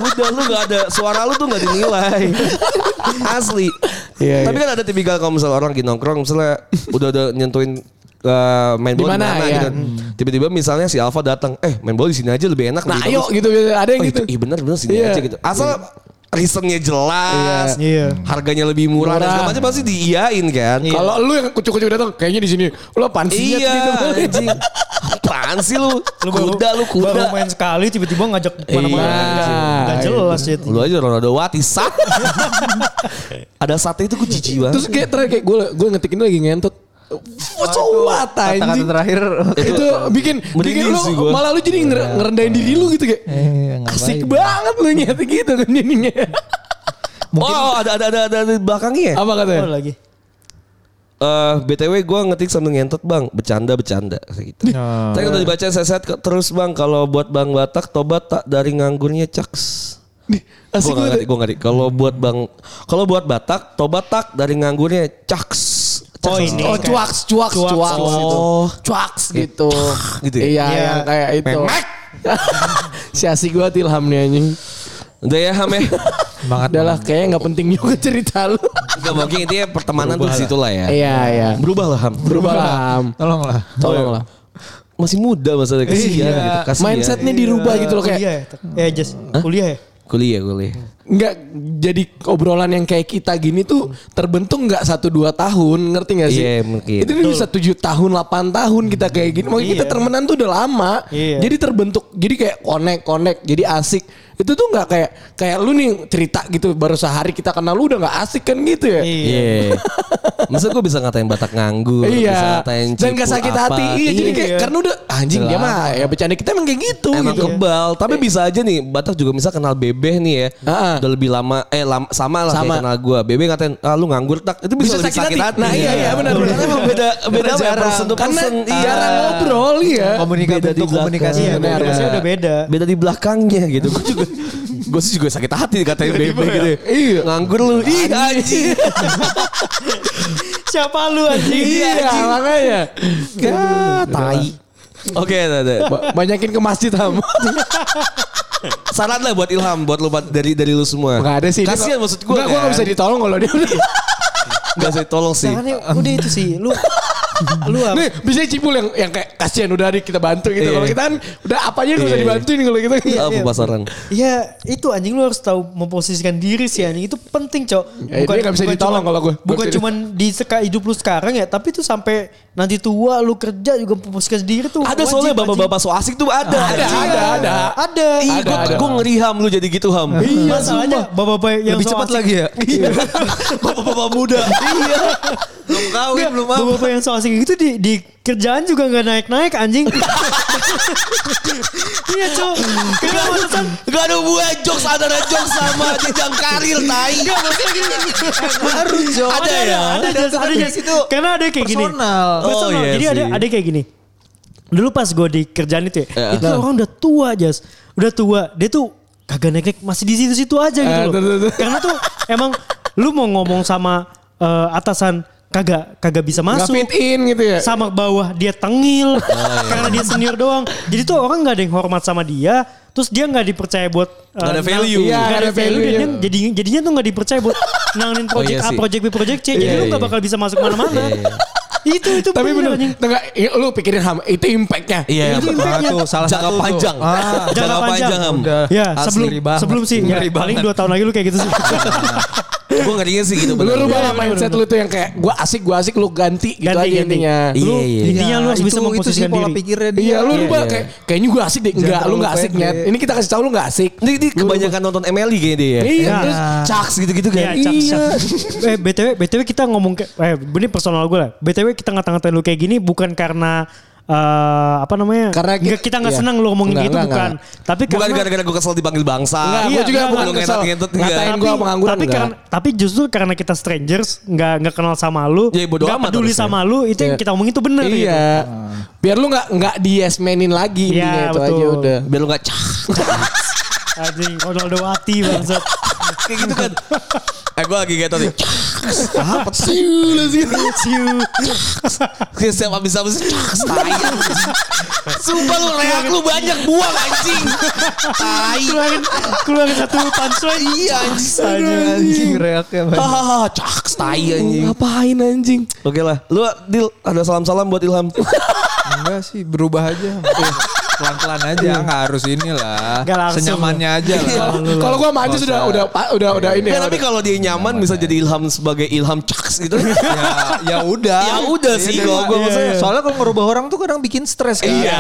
D: Udah lu gak ada suara lu tuh gak dinilai. Asli.
B: Iya,
D: Tapi
B: iya.
D: kan ada tipikal kalau misalnya orang lagi nongkrong misalnya udah udah nyentuin eh, main bola di
B: Dimana,
D: mana
B: iya.
D: gitu. Tiba-tiba misalnya si Alfa datang, "Eh, main bola di sini aja lebih enak."
B: Nah,
D: lebih
B: ayo
D: bagus."
B: gitu biasanya. ada yang
D: Oh,
B: gitu.
D: itu- Iya bener bener sini
B: Iya.
D: aja gitu. Asal reasonnya jelas,
C: Iya.
D: harganya lebih murah, dan
B: Murah. Iya.
D: segala macam pasti diiyain kan.
B: Kalau lu yang kucuk-kucuk datang kayaknya di sini lu pansinya
D: iya, anjing. Apaan sih lu?
C: Lu baru-
D: kuda, lu
C: Baru
D: kuda.
C: main sekali tiba-tiba ngajak mana-mana.
D: Iya.
C: Nggak- nggak jelas ya.
D: Lu aja Ronaldo Wati, sat. Ada sate itu ku jijik banget.
B: Terus kayak terakhir kayak gue gue ngetikin lagi ngentot. So what
E: Kata-kata
B: anjing.
E: terakhir.
B: Itu bikin bikin
D: Iya. merinding
B: lu
D: sih gua. Iya.
B: malah lu jadi nger- ngerendahin diri lu gitu kayak.
E: Eh, ngapain?
B: Asik banget lu nyet gitu kan jadinya.
D: Oh, ada ada ada ada di belakangnya. ya?
B: Apa
C: Apa
B: katanya?
C: lagi?
D: Eh, BTW gue ngetik sambil ngentot bang Bercanda bercanda gitu.
B: Ah.
D: Tapi udah dibaca seset ke- terus bang Kalau buat bang Batak Tobat tak dari nganggurnya caks
B: Nih, Asik
D: gue ngerti,
B: banget.
D: gue ngerti. Kalau buat bang, kalau buat Batak, tobat tak dari nganggurnya caks.
C: Oh, ini.
B: Oh
C: Kayak-
B: cuaks cuaks
C: Cuaks,
B: cuaks
C: cuaks
B: gitu. Cuaks gitu.
D: oh. gitu ya?
B: Iya,
C: Iya.
B: yang kayak itu. si asik banget Ilham nih anjing.
D: Udah ya Ham ya.
E: Semangat
B: Udah lah kayaknya gak penting juga cerita lu.
D: Gak mungkin intinya pertemanan tuh situ lah ya.
B: Iya iya.
D: Berubah lah Ham.
B: Berubah lah. Ham.
E: Tolonglah.
D: Iya.
B: Tolonglah.
D: Masih muda masalahnya kasihan
E: Iya.
D: gitu. Kasihan.
B: Mindsetnya dirubah gitu loh kayak.
C: Kuliah ya. Eh, Jess. Kuliah ya.
D: Kuliah kuliah.
B: nggak jadi obrolan yang kayak kita gini tuh terbentuk nggak satu dua tahun ngerti nggak sih?
D: Iya, mungkin. Hmm. Iya.
B: Itu bisa tujuh tahun 8 tahun kita kayak gini. Makanya kita temenan tuh udah lama.
C: Iya.
B: Jadi terbentuk jadi kayak connect connect jadi asik. Itu tuh nggak kayak kayak lu nih cerita gitu baru sehari kita kenal lu udah nggak asik kan gitu ya?
C: Iya.
D: Iya. Masa gue bisa ngatain Batak nganggur, bisa
B: Iya,
D: ngatain
B: dan
D: cipu
B: gak sakit
D: apa.
B: hati. Iya, jadi kayak
C: Iya.
B: karena udah anjing dia mah ya bercanda kita emang kayak gitu.
D: Emang
B: gitu.
D: kebal, tapi bisa aja nih Batak juga bisa kenal Bebeh nih ya.
B: Ah.
D: Udah lebih lama eh lama, sama lah
B: Sama.
D: kayak kenal gua. Bebeh ngatain, "Ah lu nganggur tak." Itu bisa, lebih sakit, hati.
B: Nah iya iya benar. benar.
D: Karena emang beda beda
E: Karena
D: jarang.
E: jarang.
D: person to
B: Karena
D: person. Iya.
B: jarang ngobrol ya.
E: Komunikasi
D: Beda di
E: bentuk
D: belakang.
E: komunikasi.
C: Iya,
B: benar.
C: maksudnya udah beda.
D: Beda di belakangnya gitu. Gue juga gue sih juga sakit hati dikatain bebe gitu. Iya. Nganggur lu. Ih anjing.
C: Siapa lu anjing?
B: Iya makanya.
D: Ah, Tai. Oke, ada, ada.
B: Ba- Banyakin ke masjid ham.
D: saran lah buat Ilham, buat lu buat- dari dari lu semua.
B: Gak ada sih.
D: Kasihan maksud kan. gue.
B: Enggak, gue gak bisa ditolong kalau dia.
D: Gak usah tolong sih.
C: Jangan ya, udah itu sih. Lu lu apa?
B: Nih, biasanya cipul yang yang kayak kasihan udah nih kita bantu gitu.
D: Iya.
B: Kalau kita kan udah apa aja gak
D: Iya.
B: usah dibantuin kalau gitu. kita.
C: Iya,
D: Apa pasaran?
C: Ya itu anjing lu harus tahu memposisikan diri sih anjing itu penting cok.
B: Ya, dia nggak bisa ditolong
C: cuman-
B: kalau gua. Gua
C: Bukan
B: serius.
C: cuman di seka hidup lu sekarang ya, tapi tuh sampai nanti tua lu kerja juga memposisikan diri tuh.
D: Ada
C: wajib,
D: soalnya
C: anjing. Iya,
D: bapak-bapak so asik tuh ada.
B: Ada ada ada.
C: Ada.
D: Ih,
B: Ada, ada.
D: gue ngeri Ham lu jadi gitu Ham.
C: Iya, masalahnya bapak-bapak yang Iya,
E: Lebih
C: so
E: cepat
C: asik-
E: lagi ya.
D: Bapak-bapak muda. Iya. Belum kawin, belum apa.
C: Bapak-bapak yang so asik informasi kayak gitu di, di kerjaan juga nggak naik-naik anjing. Iya cok. Kenapa alasan?
D: Gak ada hubungan jokes antara jokes sama jenjang karir, tai.
A: Harus Jo.
D: Ada ya?
C: Ada ada ada, ada,
A: itu
C: Karena ada kayak gini.
A: personal.
D: Oh,
C: Personal.
D: iya
C: Jadi ada
D: sih.
C: ada kayak gini. Dulu pas gue di kerjaan itu ya, itu orang udah tua Jas. Udah tua. Dia tuh kagak naik-naik masih di situ-situ aja gitu
B: Eh,
C: loh.
B: tuh, tuh, tuh.
C: Karena tuh emang lu mau ngomong sama eh, atasan kagak kagak bisa
B: Nggak
C: masuk.
B: fit in gitu
D: Eh.
B: ya.
C: sama bawah dia
D: Oh,
C: tengil
D: iya.
C: karena dia senior doang jadi tuh orang nggak ada yang hormat sama dia terus dia nggak dipercaya buat
D: Nggak ada value.
C: iya,
B: Iya,
C: nggak ada
B: nggak ada
C: value dan
B: value-nya.
C: dia- jadi jadinya tuh nggak dipercaya buat nanganin project
D: iya
C: A
D: sih.
C: project B project C jadi
D: Iya,
C: lu nggak
D: iya.
C: bakal bisa masuk mana-mana itu itu
B: Tapi bener,
C: anjing.
B: enggak, ya, lu pikirin ham, itu impactnya.
D: Iya,
C: Itu
D: Pak.
C: impact-nya.
A: tuh salah
D: Jangka
A: satu tuh.
D: panjang.
A: Ah,
D: Jangka panjang. Ham.
A: Udah.
C: ya
A: Asli
C: sebelum
A: banget.
C: sebelum sih ya,
A: Ngeri
C: paling
A: banget.
C: dua tahun lagi lu kayak gitu sih
D: Gue ngerinya sih gitu.
B: Lu
D: bener.
B: rubah lah mindset lu tuh yang kayak gua asik, gua asik, lu ganti gitu
C: Ganti,
B: aja
C: ganti.
B: intinya.
D: Iya,
C: lu
D: iya.
C: intinya lu harus bisa
A: itu- Itu
C: memposisikan
A: sih pola
C: diri
A: pikirnya dia.
B: Iya, lu
A: Iya.
B: rubah kayak kayaknya gua asik deh. Enggak, lu
A: terlalu
B: enggak asik,
A: pede.
B: Net. Ini kita kasih tahu lu enggak asik.
D: Ini dia kebanyakan nonton MLI kayaknya dia ya.
B: Iya,
C: Nah.
B: terus caks gitu-gitu
C: Iya,
B: kan.
C: cak,
B: Iya.
C: cak. eh btw btw kita ngomong ke, eh ini personal gue lah. btw kita ngata-ngatain lu kayak gini bukan karena eh apa namanya?
B: Karena ki-
C: Nggak- kita nggak
B: iya.
C: senang lu ngomongin
B: Nggak,
C: gitu
B: nggak,
C: bukan. Tapi
D: Bukan
C: karena
D: gara-gara gue kesel dipanggil bangsa.
B: Enggak,
C: Iya,
B: gua juga
C: enggak,
B: bukan
C: enggak,
B: kesel.
D: ngentot-ngentot enggak.
B: Ngatain gua pengangguran
C: tapi
B: enggak.
C: karena tapi justru karena kita strangers nggak nggak kenal sama lu
D: Ya, bodo
C: nggak
D: amat
C: peduli
D: harusnya.
C: sama lu itu yang
B: Iya.
C: kita omongin itu bener gitu.
B: Iya. Biar lu nggak nggak di yes manin lagi
C: Iya,
B: intinya itu
C: betul.
B: aja udah.
D: Biar lu gak cah.
C: anjing Ronaldo Wati bangsat
D: Kayak gitu kan. Eh gue lagi gitu nih.
B: Apa sih?
C: Ciu.
D: Kayak Setiap abis abis tai. Sumpah lu reak lu banyak buang anjing. Tai.
C: keluarin keluarin satu punchline
D: Iya anjing.
C: Anjing.
A: Anjing reaknya banyak.
D: Hahaha, cak tai Iya, anjing.
B: Ngapain anjing?
D: Oke lah, lu Dil ada salam-salam buat Ilham.
A: Enggak sih, berubah aja. Eh, Pelan-pelan aja,
D: Iya.
A: nggak harus inilah.
C: Nggak langsung.
A: Senyamannya aja lah.
B: Kalau gua maju sudah udah pa- udah udah
A: Iya.
B: ini.
D: Ya,
B: ya, udah.
D: tapi kalau dia nyaman bisa jadi Ilham sebagai Ilham Caks gitu.
A: ya, ya udah.
D: Ya udah sih,
A: Iya,
D: kalau gua
A: iya,
D: maksudnya.
A: iya. Soalnya kalau ngerubah orang tuh kadang bikin stres kan.
D: Iya.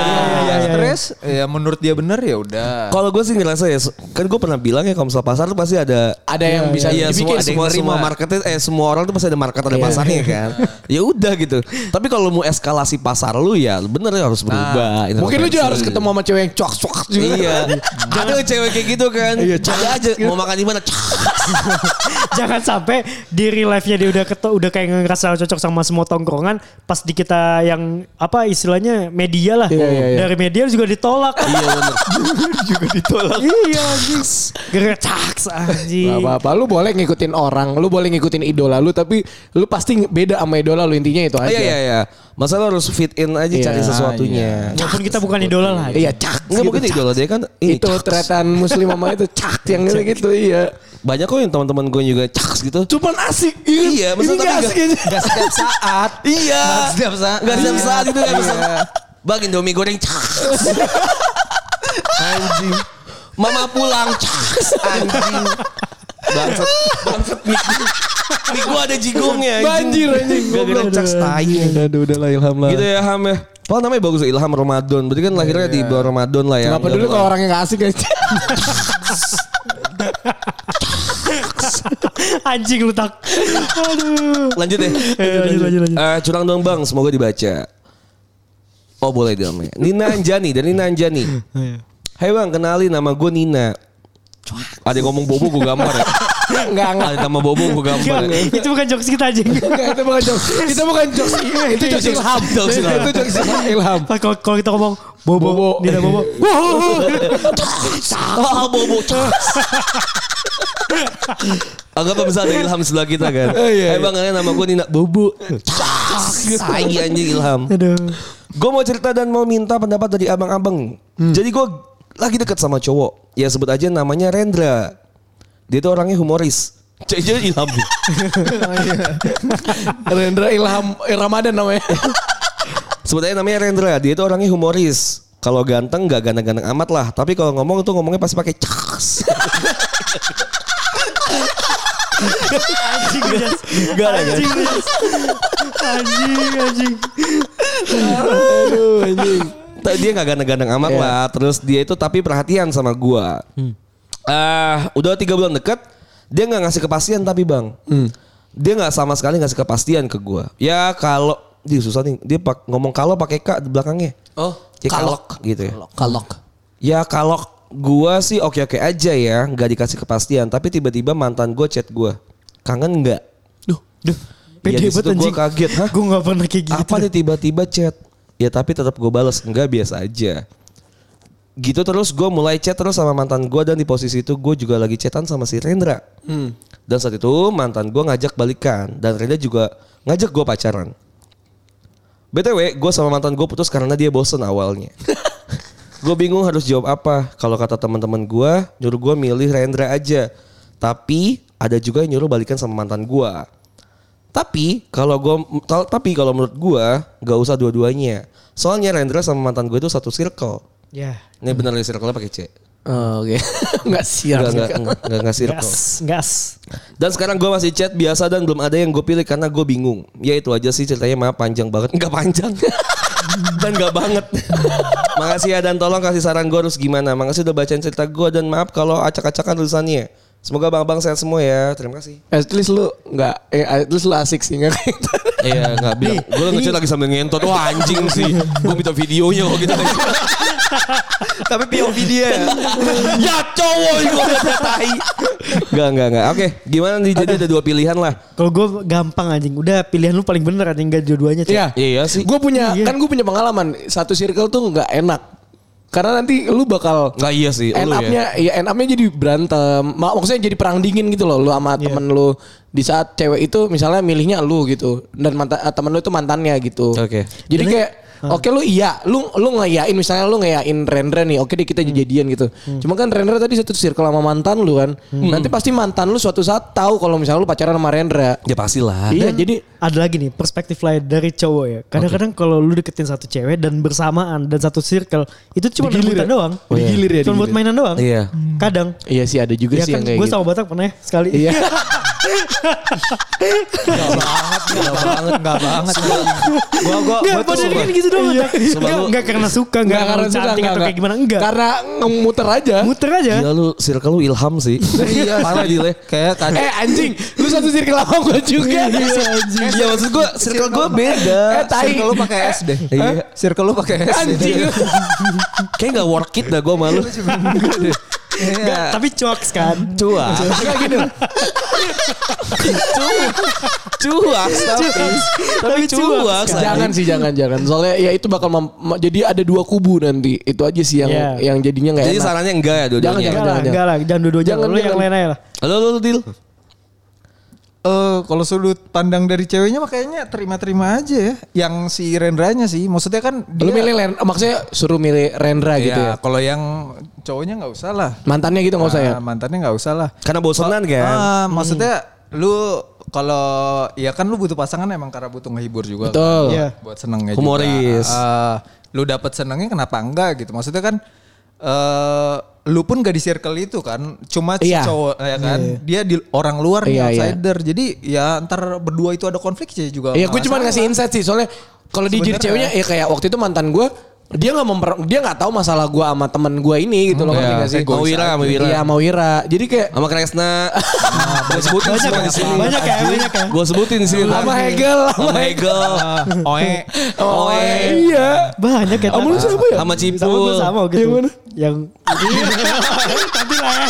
A: Ya, stres. Ya menurut dia bener ya udah.
D: Kalau gue sih ngerasa ya, kan gue pernah bilang ya kalau misalnya pasar tuh pasti ada
B: ada yang bisa
D: iya, semua,
B: dibikin Iya.
A: ada yang
D: semua,
A: nerima.
D: semua marketnya eh semua orang tuh pasti ada market ada pasarnya kan. ya udah gitu. Tapi kalau mau eskalasi pasar lu ya bener ya harus berubah.
B: Nah,
D: kan
B: Mungkin lu juga harus ketemu sama cewek yang cok-cok juga.
D: Iya. ada cewek kayak gitu kan. Iya, ada aja
B: gitu.
D: mau makan di mana.
C: Jangan sampai di real life-nya dia udah ketu, udah kayak ngerasa cocok sama semua tongkrongan, pas di kita yang apa istilahnya media lah.
B: Iya, iya, iya.
C: Dari media juga ditolak.
D: Iya bener.
C: juga
B: Gitu
C: ditolak. iya, anjing. Gara-gara caks
B: Gak
C: anjing.
B: apa-apa, lu boleh ngikutin orang, lu boleh ngikutin idola lu, tapi lu pasti beda sama idola lu intinya itu
D: Ah,
B: aja.
D: Iya iya iya. Masa lu harus fit in aja
B: Iya,
D: cari sesuatunya.
C: Walaupun kita bukan idola lah.
B: Iya, cak.
D: Enggak
B: gitu,
D: mungkin
B: cak.
D: idola dia kan ini
B: Itu
D: caks.
B: teretan muslim sama itu cak yang gitu, gitu iya.
D: Banyak kok yang teman-teman gue juga caks gitu.
B: Cuman asik.
D: Iya,
B: nggak
D: maksudnya tapi
B: asik
D: nggak-
B: aja.
A: Gak setiap saat.
D: Iya.
A: Nggak setiap saat.
D: Nggak setiap
A: Iya.
D: saat itu kan.
A: Iya.
D: Bang Indomie goreng caks. Anjing. Mama pulang caks. Anjing. Bangsat. Bangsat mik. Mik gua ada jigongnya.
B: Banjir, anjing.
D: Gara-gara caks tai.
A: Aduh udah lah Ilham lah.
D: Gitu ya Ham ya. Padahal namanya bagus ya, Ilham Ramadan. Berarti kan lahirnya di bulan Ramadan lah ya.
B: Gak peduli kalau orangnya gak asik aja.
C: Anjing lu tak. Aduh.
D: Lanjut deh.
C: Eh, lanjut, lanjut, lanjut.
D: Eh, curang dong bang, semoga dibaca. Oh boleh dong ya. Nina Anjani dan Nina Anjani. Hai bang, kenalin nama gue Nina. Ada yang ngomong bobo gue gambar ya.
B: Enggak, enggak.
D: Ada nama bobo gue gambar ya.
C: Enggak, itu bukan jokes kita anjing.
B: Enggak, itu bukan jokes. Itu bukan jokes. Itu jokes ilham.
D: Jokes ilham.
B: Itu jokes ilham.
C: Pas kalau kalau kita ngomong bobo,
B: Bobo.
C: Nina bobo.
D: Ah bobo. Anggap bisa ada ilham sebelah kita kan. Hai bang, kenalin nama gue Nina. Bobo. Sai anjing ilham.
C: Aduh.
D: Gue mau cerita dan mau minta pendapat dari abang-abang. Jadi gue lagi deket sama cowok. Ya sebut aja namanya Rendra. Dia tuh orangnya humoris. Jadi ilham.
B: Rendra ilham eh, Ramadan namanya.
D: sebut aja namanya Rendra. Dia tuh orangnya humoris. Kalau ganteng gak ganteng-ganteng amat lah. Tapi kalau ngomong tuh ngomongnya pasti pakai caks.
C: Anjing Jas. Anjing Jas. Anjing anjing.
D: Tapi dia gak ganteng-ganteng amat lah. Terus dia itu tapi perhatian sama gua. Ah, udah tiga bulan deket, dia nggak ngasih kepastian tapi bang, dia nggak sama sekali ngasih kepastian ke gua. Ya kalau dia susah nih. Dia pak ngomong kalau pakai k di belakangnya.
B: Oh,
D: Ya,
B: kalok.
D: kalok gitu ya.
B: Kalok.
D: Ya kalau gua sih oke-oke aja ya, nggak dikasih kepastian. Tapi tiba-tiba mantan gue chat gue, kangen nggak?
B: Duh, duh.
D: Ya
C: Pede
D: di
C: banget
D: situ gue
C: anjing.
D: kaget, hah?
C: Gue gak pernah kayak gitu.
D: Apa nih tiba-tiba chat? Ya tapi tetap gue balas, enggak biasa aja. Gitu terus gue mulai chat terus sama mantan gue dan di posisi itu gue juga lagi chatan sama si Rendra.
C: Hmm.
D: Dan saat itu mantan gue ngajak balikan dan Rendra juga ngajak gue pacaran. BTW gue sama mantan gue putus karena dia bosen awalnya. gue bingung harus jawab apa. Kalau kata teman-teman gue nyuruh gue milih Rendra aja. Tapi ada juga yang nyuruh balikan sama mantan gue. Tapi kalau gue tapi kalau menurut gue gak usah dua-duanya. Soalnya Rendra sama mantan gue itu satu circle.
C: Ya.
D: Ini bener nih circle-nya pakai C.
B: Oh, Oke. Enggak siap.
D: Enggak enggak enggak enggak, enggak circle.
C: Gas. Gas.
D: Dan sekarang gue masih chat biasa dan belum ada yang gue pilih karena gue bingung. Ya itu aja sih ceritanya maaf panjang banget. Enggak panjang. dan enggak banget. Makasih ya dan tolong kasih saran gue harus gimana. Makasih udah bacain cerita gue dan maaf kalau acak-acakan tulisannya. Semoga bang-bang sehat semua ya. Terima kasih.
B: At least lu enggak eh at least lu asik sih enggak kayak gitu.
D: Iya nggak bilang. Gue ngechat lagi sambil ngentot. Wah anjing sih. Gue minta videonya kalau gitu. Tapi POV dia ya. ya cowok itu tai. Gak gak gak. Oke gimana nih jadi ada dua pilihan lah.
C: Kalau gue gampang anjing. Udah pilihan lu paling bener anjing. Gak dua-duanya. Cok.
B: Iya.
D: Iya sih.
B: Gue punya
C: Iya.
B: kan gue punya pengalaman satu circle tuh nggak enak karena nanti lu bakal
D: Nggak iya sih, lu
B: End
D: ya.
B: upnya ya. end upnya jadi berantem. Ma- Maksudnya jadi perang dingin gitu loh lu sama
C: Iya.
B: temen lu di saat cewek itu misalnya milihnya lu gitu dan mantan eh, temen lu itu mantannya gitu.
D: Oke.
B: Jadi kayak Oke lu iya, lu lu ngeyain misalnya lu ngeyain Rendra nih, oke deh
C: Hmm.
B: kita jadian gitu. Cuma kan Rendra tadi satu circle sama mantan lu kan.
C: Hmm.
B: Nanti pasti mantan lu suatu saat tahu kalau misalnya lu pacaran sama Rendra.
D: Ya pastilah.
B: Iya,
C: Dan
B: jadi
C: ada lagi nih perspektif lain dari cowok ya. Kadang-kadang kalau lu deketin satu cewek dan bersamaan dan satu circle itu cuma
B: Digilir
C: rebutan
B: ya?
C: doang.
B: Oh, iya. Digilir ya,
C: Cuma buat
B: digilir.
C: mainan doang.
D: Iya.
C: Kadang.
B: iya sih ada juga
C: Ya
B: sih
C: kan
B: yang kayak
C: gue
B: gitu.
C: sama Batak pernah ya sekali.
B: Iya.
E: Gak banget, gak banget, gak banget. Gua gua
C: Enggak,
E: gua tuh
C: padahal
E: sumpah.
C: kan gitu doang. Iya.
D: Sumpah
C: Enggak,
D: lu-
C: enggak karena suka, enggak
B: Nggak
C: karena
B: suka,
C: cantik
B: nggak,
C: atau kayak
B: nggak.
C: gimana, enggak.
B: Karena muter aja.
C: Muter aja.
D: Gila Ya, lu circle lu ilham sih. iya, parah dile.
E: kayak tadi
B: Eh anjing, lu satu circle sama gue juga.
D: Iya maksud gue circle gue beda.
B: Eh, tai.
E: circle lu pakai S deh.
D: Iya.
E: Hah? Circle lu pakai S.
B: Anjing.
D: Kayak gak worth it dah gue malu.
E: Iya.
C: Tapi cuaks kan.
D: Cuak.
B: Enggak gini. loh.
D: Cuak tapi. Tapi cuak. say.
B: Jangan sih, jangan jangan. Soalnya ya itu bakal mem- ma- jadi ada dua kubu nanti. Itu aja sih yang
C: Iya.
B: yang jadinya nggak
D: Jadi
B: enak.
D: sarannya enggak ya
B: Jangan,
D: dua-duanya.
C: Enggak
B: jangan,
C: lah,
B: jangan.
C: enggak lah. Jangan dua-duanya.
B: Jangan,
C: Lu yang
B: jangan.
C: lain aja lah.
D: Halo lu Dil.
E: Eh, kalau sudut pandang dari ceweknya mah kayaknya terima-terima aja ya. Yang si Rendranya sih, maksudnya kan dia
B: Lu milih Ren, maksudnya suruh milih Rendra
E: Iya,
B: gitu ya.
E: kalau yang cowoknya nggak usah lah.
B: Mantannya gitu nggak usah ya.
E: Ah, mantannya nggak usah lah.
D: Karena bosenan kan.
E: Ah, maksudnya
B: Hmm.
E: lu kalau ya kan lu butuh pasangan emang karena butuh ngehibur juga. kan.
B: Betul.
C: Iya.
E: Buat senengnya
D: Humoris.
E: juga. Ah, lu dapat senengnya kenapa enggak gitu. Maksudnya kan eh lu pun gak di circle itu kan. Cuma si
B: Iya.
E: cowok ya kan. Dia di orang luar
B: Iya,
E: nih
B: iya.
E: outsider. Jadi ya ntar berdua itu ada konflik sih juga.
B: Iya, gue
E: nggak
B: cuma
E: salah.
B: ngasih insight sih. Soalnya kalau di jadi ceweknya
E: Sebenarnya.
B: ya kayak waktu itu mantan gue dia nggak memper dia nggak tahu masalah gue sama temen gue ini gitu loh
D: Iya,
B: nggak sih?
D: egois Sama Wira, aja. sama Wira.
B: Iya, sama Wira. Jadi kayak
D: Sama Kresna. Gue sebutin
C: Banyak
D: semua
C: ya,
D: di sini.
C: banyak ya, banyak ya.
D: Gue sebutin di sini.
B: sama Hegel,
D: Sama Hegel.
E: Oh Oe.
B: Oh,
D: Oe.
B: iya.
C: Banyak ya.
B: Kamu lu
C: Tat.
B: siapa ya?
D: Sama
C: Sama
D: Cipul.
C: gue sama gitu.
B: Yang mana?
C: Yang nanti lah ya.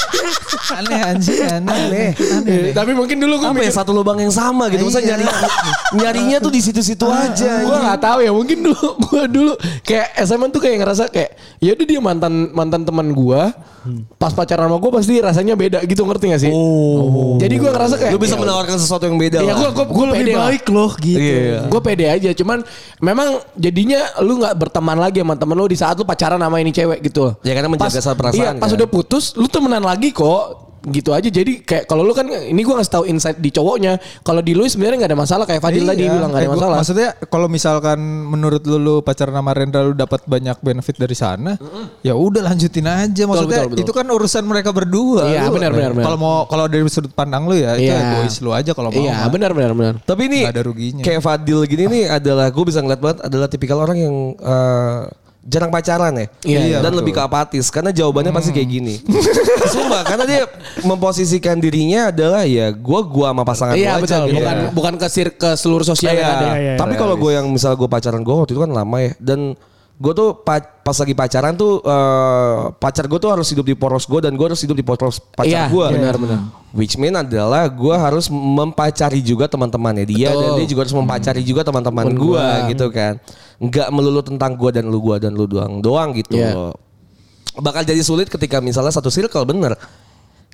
E: Aneh anjing, aneh. Aneh. Iya,
B: Eh, Tapi mungkin dulu gue
D: Apa ya satu lubang yang sama gitu. Masa nyari nyarinya tuh di situ-situ aja.
B: Gue Ah, nggak tahu ya mungkin dulu gue dulu kayak SMA tuh kayak ngerasa kayak ya udah dia mantan mantan teman gue pas pacaran sama gue pasti rasanya beda gitu ngerti gak sih? Oh. Jadi gue ngerasa kayak
D: Lu bisa menawarkan sesuatu yang beda.
B: Ya
D: lah.
B: gue gue gue
C: Lebih baik loh gitu.
D: Iya.
B: Gue pede aja, cuman memang jadinya lu nggak berteman lagi sama temen lu di saat lu pacaran sama ini cewek gitu. loh.
D: Ya, karena menjaga
B: Pas-
D: saat perasaan,
B: Iya, pas
D: kan?
B: udah putus, lu temenan lagi kok gitu aja jadi kayak kalau lu kan ini gua ngasih tahu insight di cowoknya kalau di lu sebenarnya nggak ada masalah kayak Fadil tadi
E: Iya.
B: bilang nggak
E: Eh,
B: ada
E: gua-
B: masalah
E: Maksudnya kalau misalkan menurut lu, lu pacaran sama Rendra lu dapat banyak benefit dari sana, ya udah lanjutin aja maksudnya.
B: betul, betul.
E: Itu kan urusan mereka berdua.
B: Iya,
E: Lu-
B: benar, benar, benar.
E: Kalau mau kalau dari sudut pandang lu ya, itu
B: Iya.
E: egois lu aja kalau mau.
B: iya
E: mah.
B: benar benar benar
D: Tapi ini
E: Nggak ada ruginya.
D: kayak Fadil gini nih adalah gue bisa ngeliat banget adalah tipikal orang yang eh, jarang pacaran ya
B: Iya, iya, Hmm.
D: dan lebih ke apatis karena jawabannya pasti kayak gini sumpah karena dia memposisikan dirinya adalah ya gua gua sama pasangan
B: Iya
D: gua aja
B: betul.
D: gitu.
B: Bukan
D: Iya.
B: bukan ke sir- ke seluruh sosial yang
D: Iya.
B: ada. ya.
C: iya,
D: tapi kalau gue yang misalnya gue pacaran gue waktu itu kan lama ya dan gue tuh pa- pas lagi pacaran tuh eh, pacar gue tuh harus hidup di poros gue dan gue harus hidup di poros pacar
B: Iya,
D: gue.
B: benar, benar.
D: Which mean adalah gue harus mempacari juga teman-temannya dia dan dia juga harus mempacari
B: Hmm.
D: juga teman-teman gue gitu kan. Nggak melulu tentang gue dan lu gue dan lu doang doang gitu
B: Iya.
D: loh. Bakal jadi sulit ketika misalnya satu circle bener.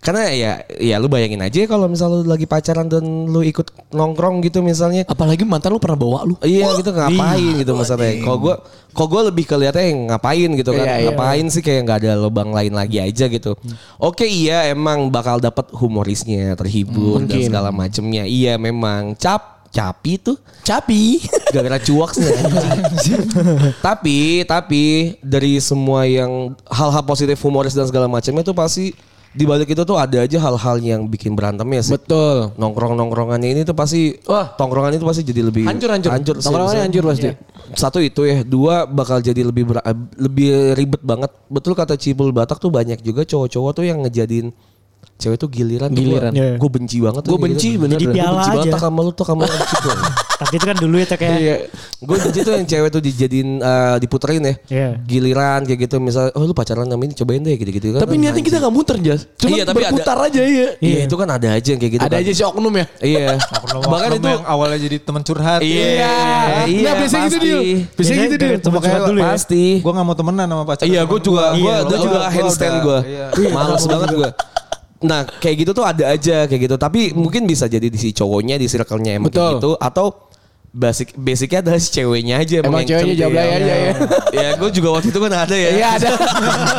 D: Karena ya ya lu bayangin aja ya kalau misalnya lu lagi pacaran dan lu ikut nongkrong gitu misalnya
B: Apalagi mantan lu pernah bawa lu.
D: Iya gitu ngapain gitu maksudnya. Kalau gua kalau gua lebih kelihatannya yang ngapain gitu kan.
B: Iya, Hmm. iya.
D: ngapain sih kayak nggak ada lubang lain lagi aja gitu. Oke iya emang bakal dapat humorisnya, terhibur dan segala macemnya. Iya memang cap capi tuh
B: Capi.
D: gara-gara cuak sih anjing. tapi tapi dari semua yang hal-hal positif humoris dan segala macamnya tuh pasti di balik itu tuh ada aja hal-hal yang bikin berantemnya sih
B: betul.
D: nongkrong nongkrongannya ini tuh pasti
B: Wah.
D: tongkrongan itu pasti jadi lebih
B: Hancur hancur.
D: hancur sih,
B: Tongkrongannya
D: maksudnya.
B: hancur pasti.
D: satu itu ya dua bakal jadi lebih ber- lebih ribet banget betul kata Cipul Batak tuh banyak juga cowok-cowok tuh yang ngejadiin cewek tuh giliran
B: Giliran.
D: gue benci banget
B: Gue benci bener.
C: Jadi
D: gue
C: piala
D: benci banget
C: aja.
D: tak sama lu tuh sama Cipul
C: Tapi itu kan dulu ya kayak
D: gue benci Iya. tuh yang cewek tuh dijadiin eh, diputerin ya
C: Iya.
D: giliran kayak gitu misalnya oh lu pacaran sama ini cobain deh gitu-gitu kan
B: Tapi niatnya kita gak muter jas. Cuma
D: Iya, tapi ada-
B: berputar aja ya.
D: iya itu kan ada aja yang kayak gitu
B: Ada
D: kan.
B: aja si oknum ya.
D: iya bahkan itu
E: yang awalnya jadi teman curhat.
D: iya,
B: Nah, biasanya gitu
D: pasti.
B: dia. Biasanya gitu dia.
C: Coba
E: Makanya
C: dulu ya.
D: pasti
E: Gue gak mau temenan sama pacar.
D: Iya,
E: temen
D: gue juga.
E: gua.
D: Gue
E: Iya,
D: udah, udah
E: gua gua
D: handstand
E: udah.
D: gue.
E: Iya.
D: Males banget gue. Nah, kayak gitu tuh ada aja kayak gitu. Tapi mungkin bisa jadi di si cowoknya, di circle-nya emang
B: Betul.
D: kayak gitu. Atau basic basicnya adalah si ceweknya aja
B: Emang
D: yang
B: ceweknya
D: centil.
B: jablay aja ya.
D: ya gue juga waktu itu kan ada ya.
B: Iya ada.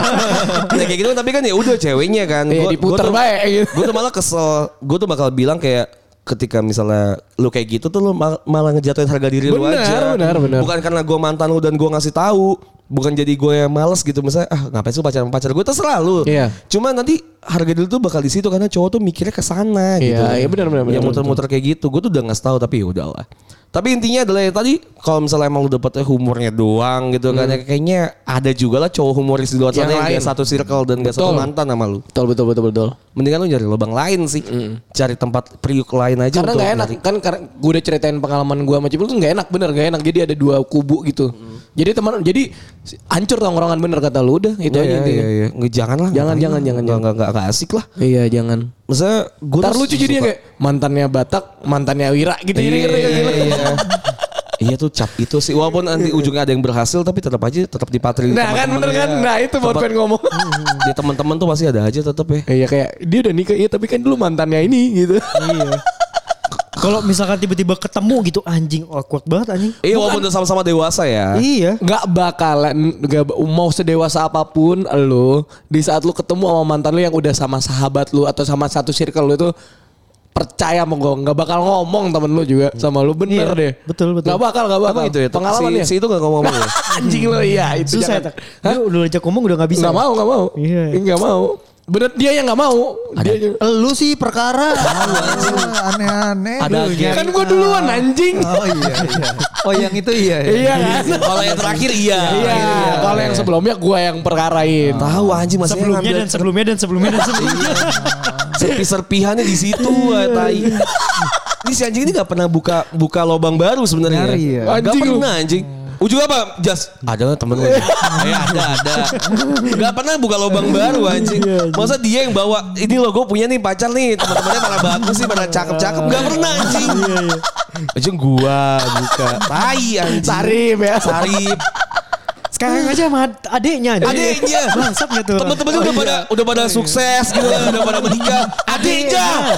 D: Nah, kayak gitu tapi kan ya udah ceweknya kan.
B: Iya,
D: Gua-
B: diputer
D: gua tuh-
B: baik gitu.
D: Gue tuh malah kesel. Gue tuh bakal bilang kayak ketika misalnya lu kayak gitu tuh lu mal- malah ngejatuhin harga diri lu
B: Benar,
D: aja.
B: benar, benar.
D: Bukan karena gue mantan lu dan gue ngasih tahu. Bukan jadi gue yang males gitu misalnya ah ngapain sih lu pacaran sama pacar gue terserah lu.
B: Iya.
D: Cuma nanti harga diri tuh bakal di situ karena cowok tuh mikirnya ke sana gitu.
B: Iya, iya, benar, benar,
D: Yang
B: benar,
D: muter-muter kayak gitu. Gue tuh udah ngasih tahu tapi ya udahlah. Tapi intinya adalah ya tadi kalau misalnya emang lu dapetnya humornya doang gitu kan ya kayaknya ada juga lah cowok humoris di luar
B: Hmm.
D: sana
B: Yang
D: yang, gak
B: lain.
D: satu circle dan gak satu
B: Betul.
D: mantan sama lu.
B: Betul betul betul betul.
D: Mendingan lu nyari lubang lain sih. Cari tempat priuk lain
B: Hmm.
D: aja
B: Karena
D: untuk
B: nggak enak
D: nyari.
B: kan karena gue udah ceritain pengalaman gue sama Cipul tuh nggak enak bener nggak enak jadi ada dua kubu gitu.
D: Hmm.
B: Jadi teman jadi si- hancur tongkrongan bener kata lu udah itu aja
D: Iya, iya,
B: intinya.
D: iya, iya. Nggak, Jangan
B: Jangan, jangan,
D: lah. ngapain lah.
B: jangan,
D: Nggak-
B: jangan.
D: nggak- nggak- nggak asik lah.
B: Iya jangan.
D: Maksudnya gue
B: Ntar lucu jadinya kayak mantannya Batak, mantannya Wira gitu jadi
D: Iya,
B: ngeri
D: iya,
B: gak sih lu?
D: iya. Iya tuh cap itu sih. Walaupun nanti ujungnya ada yang berhasil tapi tetap aja tetap dipatri.
B: Nah kan bener kan? Nah
D: iya.
B: itu buat pengen ngomong.
D: Di teman-teman tuh pasti ada aja tetap ya.
B: Iya kayak dia udah nikah iya tapi kan dulu mantannya ini gitu.
C: Iya. Kalau misalkan tiba-tiba ketemu gitu anjing awkward banget anjing.
D: Iya walaupun udah sama-sama dewasa ya.
C: Iya.
B: Gak bakalan gak, ba- mau sedewasa apapun lo di saat lu ketemu sama mantan lu yang udah sama sahabat lu atau sama satu circle lu itu percaya sama gue nggak bakal ngomong temen lu juga sama lu bener
C: Iya,
B: deh
C: betul, betul.
B: nggak bakal nggak bakal
D: Emang itu ya?
B: pengalaman
D: si,
B: ya
D: si itu gak ngomong-ngomong ya?
B: anjing lu iya itu
C: Susah ya.
B: jangan.
C: Tak. Dia udah ajak ngomong udah nggak bisa.
B: nggak mau nggak mau
C: Iya.
B: nggak mau bener dia yang nggak mau dia yang-
C: Lu sih perkara.
E: Ah, Aneh-aneh.
D: Ada
E: lu,
D: akhir.
E: ya.
B: kan gue duluan anjing
E: Oh iya, iya. Oh yang itu iya. iya.
B: iya kan
D: Kalau yang terakhir iya.
B: iya kalau yang sebelumnya gue yang perkarain
D: Tahu anjing masih
C: Sebelumnya dan sebelumnya dan sebelumnya dan sebelumnya.
D: serpi-serpihannya di situ ah, tai. Ini si anjing ini gak pernah buka buka lobang baru sebenarnya.
E: Nyari ya.
D: Gak
B: Anjing lu.
D: pernah anjing. Ujung apa? Jas. Ada lah temen lu. Eh ada ada. Gak pernah buka lobang baru anjing. Masa dia yang bawa ini lo gue punya nih pacar nih teman-temannya pada bagus sih pada cakep-cakep. Gak pernah anjing.
C: Iya.
D: Anjing gua buka. Tai anjing.
B: Sarip ya
D: Sarip.
C: Sekarang aja sama ad- adeknya anjing.
D: Adeknya.
C: Bangsat nggak tuh. orang?
D: Temen-temennya udah pada udah pada sukses gitu, udah pada menikah. Adiknya.
C: Iya.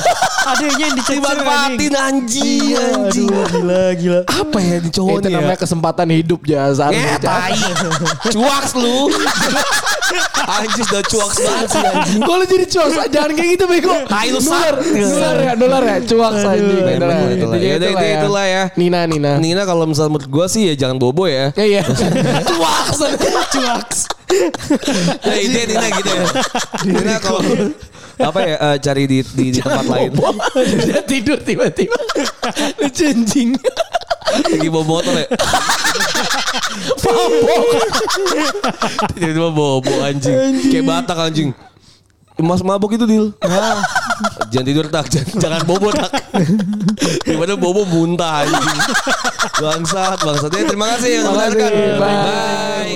C: Adeknya yang dicecer anjing.
D: Dimanfaatin anjing, anjing.
C: Iya, Aduh, gila gila.
D: Apa ya di cowok
B: itu namanya kesempatan hidup ya saat
D: Eh, tai. Cuaks lu. Anjing udah cuaks banget sih anjing.
B: Kalau jadi cuaks jangan kayak gitu bego.
D: Tai lu,
B: nular,
D: sak.
B: nular ya, nular ya, cuaks aja. Itulah,
D: memang Iya. itulah. ya.
B: intinya
D: Yaudah, itu- itulah ya.
B: Nina, Nina.
D: Nina kalau misal menurut gue sih ya jangan bobo ya.
B: Ya iya. cuaks, cuaks.
D: Ya ide Nina gitu ya. Nina kalau apa ya eh, cari di di, di tempat lain.
B: Bobo. Dia tidur tiba-tiba. Lu anjing.
D: Lagi bawa motor ya. Mabok. Tiba-tiba bobo anjing. Kayak batak anjing. Mas mabok itu deal. jangan tidur tak, jangan, jangan bobo tak. Gimana bobo Eh, muntah anjing. Bangsat, bangsat. Ya, terima kasih yang mendengarkan.
B: Bye.
D: Bye.